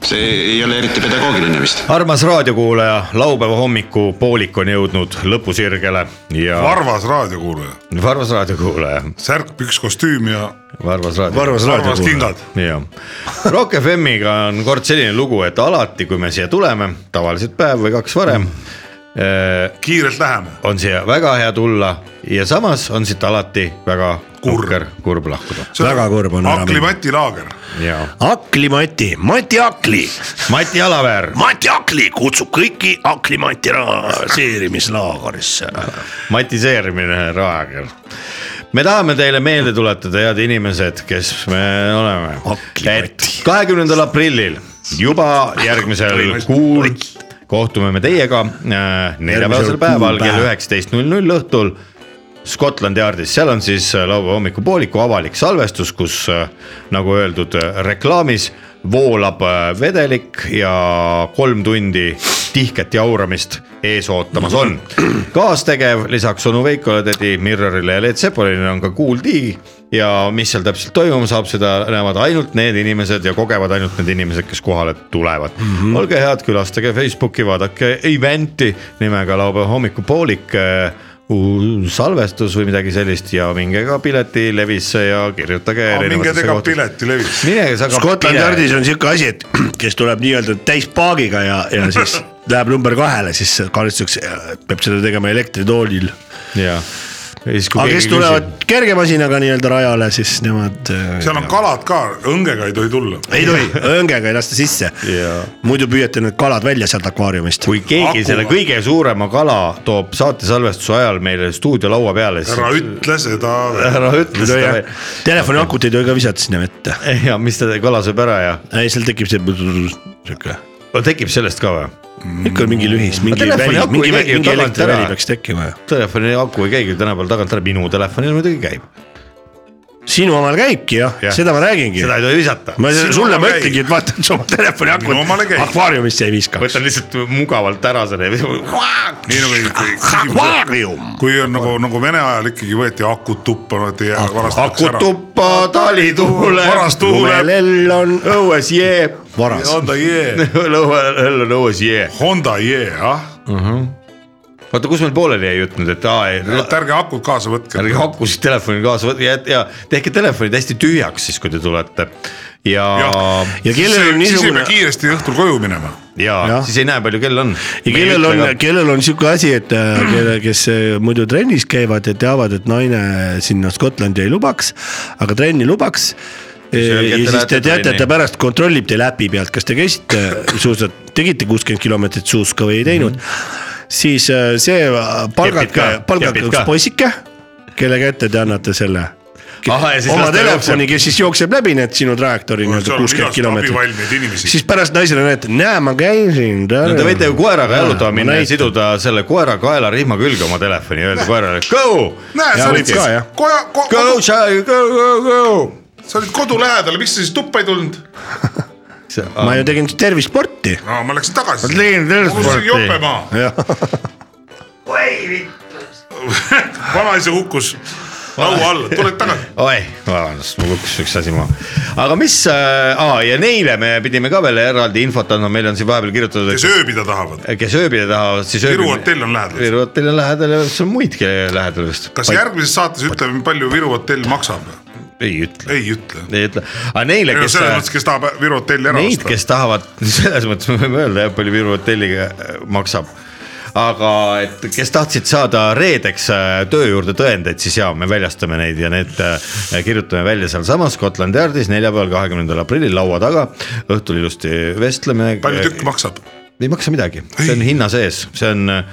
see ei ole eriti pedagoogiline vist .
armas raadiokuulaja , laupäeva hommikupoolik on jõudnud lõpusirgele ja .
Varvas raadiokuulaja .
Varvas raadiokuulaja .
särk , üks kostüüm ja .
Varvas raadio .
Varvas raadiokuulaja.
jah , Rock FM-iga on kord selline lugu , et alati , kui me siia tuleme , tavaliselt päev või kaks varem .
kiirelt läheme .
on siia väga hea tulla ja samas on siit alati väga kurb , kurb lahkuda .
väga kurb on ära
Akli
minna .
Mati laager .
ja
Akli Mati , Mati Akli .
Mati Alaväär ,
Mati Akli kutsub kõiki Akli Mati seerimislaagrisse .
matiseerimine raager . me tahame teile meelde tuletada , head inimesed , kes me oleme , et kahekümnendal aprillil juba järgmisel kuul kohtume me teiega äh, neljapäevasel
Järgmisel
päeval
kuupäeval.
kell üheksateist null null õhtul . Scotland Yardis , seal on siis äh, laupäeva hommikupooliku avalik salvestus , kus äh, nagu öeldud äh, reklaamis voolab äh, vedelik ja kolm tundi tihket jauramist ees ootamas on . kaastegev lisaks onu Veikole , tädi Mirrorile ja Leet Sepolile on ka Kool D ja mis seal täpselt toimuma saab , seda näevad ainult need inimesed ja kogevad ainult need inimesed , kes kohale tulevad mm . -hmm. olge head , külastage Facebooki , vaadake event'i nimega laupäeva hommikupoolik äh, uus salvestus või midagi sellist ja minge ka piletilevisse ja kirjutage .
piletilevis .
minge sa ka .
Scotland Yardis on sihuke asi , et kes tuleb nii-öelda täispaagiga ja , ja siis läheb number kahele , siis karistuseks äh, peab seda tegema elektritoolil .
ja , ja siis
aga kes tulevad kerge masinaga nii-öelda rajale , siis nemad . äh,
seal on kalad ka , õngega ei tohi tulla .
ei tohi , õngega ei lasta sisse . muidu püüate need kalad välja sealt akvaariumist .
kui keegi selle kõige suurema kala toob saatesalvestuse ajal meile stuudio laua peale , siis .
ära ütle seda .
ära ütle seda veel .
telefoni akut ei tohi ka visata sinna vette .
ja mis ta , kala sööb ära ja ?
ei , seal tekib see sihuke .
tekib sellest ka või ?
ikka mingi lühis , mingi
Aga telefoni
väli ,
aku
mingi ,
Mm. ei käi ju
mingi
tagant ära.
elektriväli peaks tekkima ju .
telefoni aku ei käigi tänapäeval tagant ära , minu telefonil muidugi käib .
sinu omal käibki jah ja. ,
Jah.
seda ma räägingi .
Seda ei tohi visata.
ma
Sinu
sulle
omal
ma
käib.
ütlengi , et vaata , et sa oma telefoni
Minu omale
akut
käib.
akvaariumisse ei viska .
võtan lihtsalt mugavalt ära selle .
nii nagu
akvaarium .
kui on nagu , nagu Vene ajal ikkagi võeti akud tuppa , nad ei varastatakse ära .
tuppa , tali tuule .
Varas tuuleb.
lumelell on õues jee .
varas .
Honda Jee .
lumelell on õues jee .
Honda Jee , ah .
oota , kus meil pooleli jäi jutt nüüd , et aa ei .
et ärge akud kaasa võtke .
ärge hakkusid telefoni kaasa võtma ja, ja tehke telefonid hästi tühjaks siis , kui te tulete . ja , ja,
siis ei pea kiiresti õhtul koju minema .
ja, ja
Jah.
siis ei näe , palju kell on .
ja kellel on , kellel on sihuke asi , et äh, kelle , kes äh, muidu trennis käivad ja teavad , et naine sinna Skotlandi ei lubaks , aga trenni lubaks .
öelge,
ja
et te
siis te
lähete
teate , et ta
trenni.
pärast kontrollib teile äpi pealt , kas te käisite suusad , tegite kuuskümmend kilomeetrit suuska või ei teinud mm . -hmm. siis äh, see äh,
Mhm. Kepid
palgake
ka, ,
palgake
kepid
üks
ka.
poisike , kelle kätte te annate selle
Ahah, ja siis
oma
las ta
telefoni ,
jookseb.
kes siis jookseb läbi need sinu trajektoori nii-öelda kuuskümmend kilomeetrit .
abivalmeid inimesi .
siis pärast naisele näete , näe , ma käisin .
no te võite ju koeraga jalutama minna ja
näitan.
siduda selle koera kaelarihma külge oma telefoni ja öelda koerale go .
näe , sa olid siis koja ,
Go , Charlie , go , go , go .
sa olid kodu lähedal , miks sa siis tuppa ei tulnud ?
ma ju tegin tervisporti .
no ma läksin tagasi .
Ma tegin tervisporti.
jopemaa ,
oi ,
vanaisa hukkus laua alla , tuled tagasi .
oi , vabandust , mul kukkus üks asi maha . aga mis äh, , aa ja neile me pidime ka veel eraldi infot andma , meil on siin vahepeal kirjutatud .
kes ööbida tahavad ,
kes ööbida tahavad , siis .
Viru hotell on lähedal .
Viru hotell on lähedal ja siis on muidki lähedal vist .
kas järgmises saates ütleme , palju Viru hotell maksab ?
ei ütle ,
ei ütle .
ei ütle , aga neile ,
ei no
kes . äh,
selles mõttes , kes tahab Viru hotelli ära
Neid ,
osta .
kes tahavad , selles mõttes me võime öelda jah , palju Viru hotelliga maksab . aga et kes tahtsid saada reedeks äh, töö juurde tõendeid , siis jaa , me väljastame neid ja need äh, kirjutame välja sealsamas Scotland Yardis neljapäeval , kahekümnendal aprillil laua taga . õhtul ilusti vestleme .
palju tükk maksab ?
ei maksa midagi , see on hinna sees , see on äh,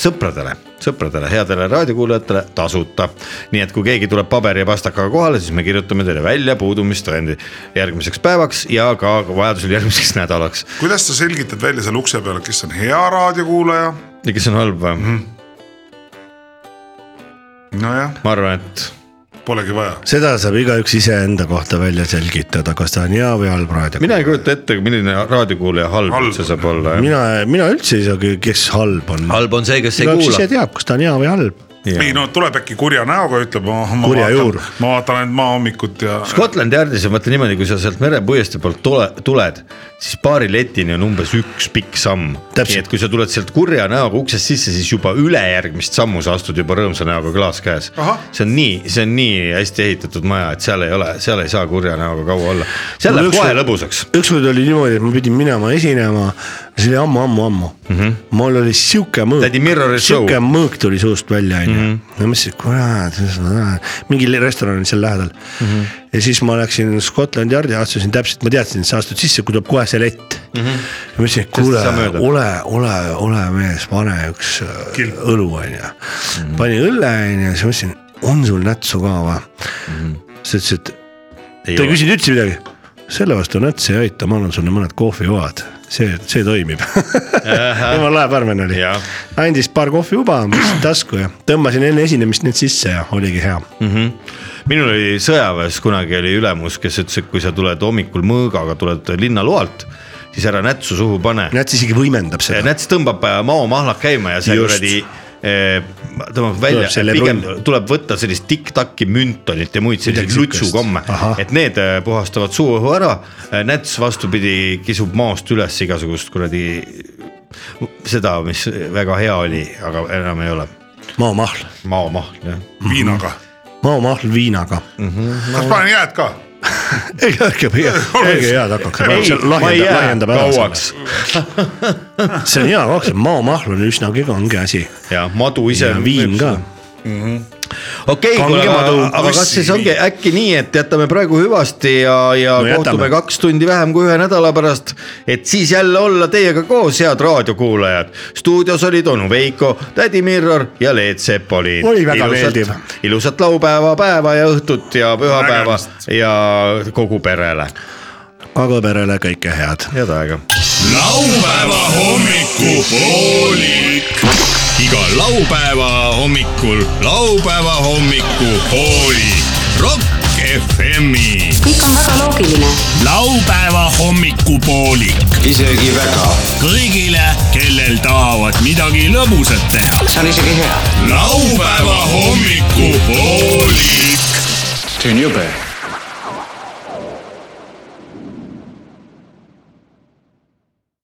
sõpradele , sõpradele , headele raadiokuulajatele tasuta . nii et kui keegi tuleb paberi ja pastakaga kohale , siis me kirjutame teile välja puudumistõendi järgmiseks päevaks ja ka vajadusel järgmiseks nädalaks .
kuidas sa selgitad välja seal ukse peal , kes on hea raadiokuulaja ?
ja kes on halb või mm. ?
nojah ,
ma arvan , et
polegi vaja .
seda saab igaüks iseenda kohta välja selgitada , kas ta on hea või halb raadio .
mina ei kujuta ette , milline raadiokuulaja halb üldse saab olla .
mina , mina üldse ei saa , kes halb on .
halb on see , kes ei
igaüks ise
kuula .
teab , kas ta on hea või halb .
ei no tuleb äkki kurja näoga , ütleb ma , ma
Kurja
vaatan
juur. ,
ma vaatan ainult maahommikut ja .
Scotland Yardis on vaata niimoodi , kui sa sealt merepuiestee poolt tule , tuled , siis paari letini on umbes üks pikk samm .
Täpselt.
nii et kui sa tuled sealt kurja näoga uksest sisse , siis juba ülejärgmist sammu sa astud juba rõõmsa näoga klaas käes . see on nii , see on nii hästi ehitatud maja , et seal ei ole , seal ei saa kurja näoga kaua olla . seal
Mul
läheb
üks-
kohe lõbusaks .
ükskord oli niimoodi , et ma pidin minema esinema , see oli ammu-ammu-ammu mm . -hmm. mul oli sihuke
Mhm. Tädi Mirrori
mõõk ,
show. Mhm.
sihuke mõõk tuli suust välja , onju . ja mõtlesin , et kurat , mingil restoranil seal lähedal mm . -hmm.
Mhm.
ja siis ma läksin Scotland Yardi , astusin täpselt , ma teadsin , et sa astud sisse , kui tuleb kohe see lett
Mhm.
mm . -hmm. ja mõtlesin , et kuule
ei saa , mööda.
ole , ole , ole mees , pane üks äh, õlu , onju .
Mhm.
panin õlle , onju , siis mõtlesin , on sul nätsu ka või mm
Mhm.
-hmm. ? siis ta ütles , et ta ei küsinud üldse midagi . selle vastu on nätsi ei aita , ma annan sulle mõned kohvivaad . see , see toimib . tema lae barmen oli , andis paar kohviuba , ma võtsin tasku ja tõmbasin enne esinemist need sisse ja oligi hea .
mm . -hmm. minul oli sõjaväes kunagi oli ülemus , kes ütles , et kui sa tuled hommikul mõõgaga , tuled linnaloalt , siis ära nätsu suhu pane .
näts isegi võimendab seda .
näts tõmbab äh, maomahlad käima ja see
Just.
kuradi eh, tõmbab välja ,
Tuleb selle
pigem
run-
tuleb võtta sellist tiktak-i müntonit ja muid selliseid
Midagi siukest.
lutsukomme , et need äh, puhastavad suuõhu ära . näts vastupidi , kisub maost üles igasugust kuradi seda , mis väga hea oli , aga enam ei ole .
maomahl .
maomahl , jah .
viinaga .
maomahl viinaga .
Mm.
kas panen jääd ka ?
ei , ärge , ärge head hakake , lahjendab , lahjendab ära selle . see on hea koks , maomahl on üsna kange asi .
ja madu ise .
viin ka .
okei , kuule , aga aga kas siis ongi äkki nii , et jätame praegu hüvasti ja , ja
No
no,
jätame.
kohtume kaks tundi vähem kui ühe nädala pärast , et siis jälle olla teiega koos , head raadiokuulajad . stuudios olid onu Veiko , tädi Mirror ja Leet Sepolin .
Oi, väga meeldiv.
ilusat laupäeva päeva ja õhtut ja pühapäeva ja kogu perele .
kogu perele kõike head .
head aega .
laupäeva hommikupoolik . iga laupäeva hommikul laupäeva hommikupoolik . Rock FM-i .
kõik on väga loogiline .
laupäeva hommikupoolik . isegi väga . kõigile , kellel tahavad midagi lõbusat teha . see on isegi hea . laupäeva hommikupoolik .
see on jube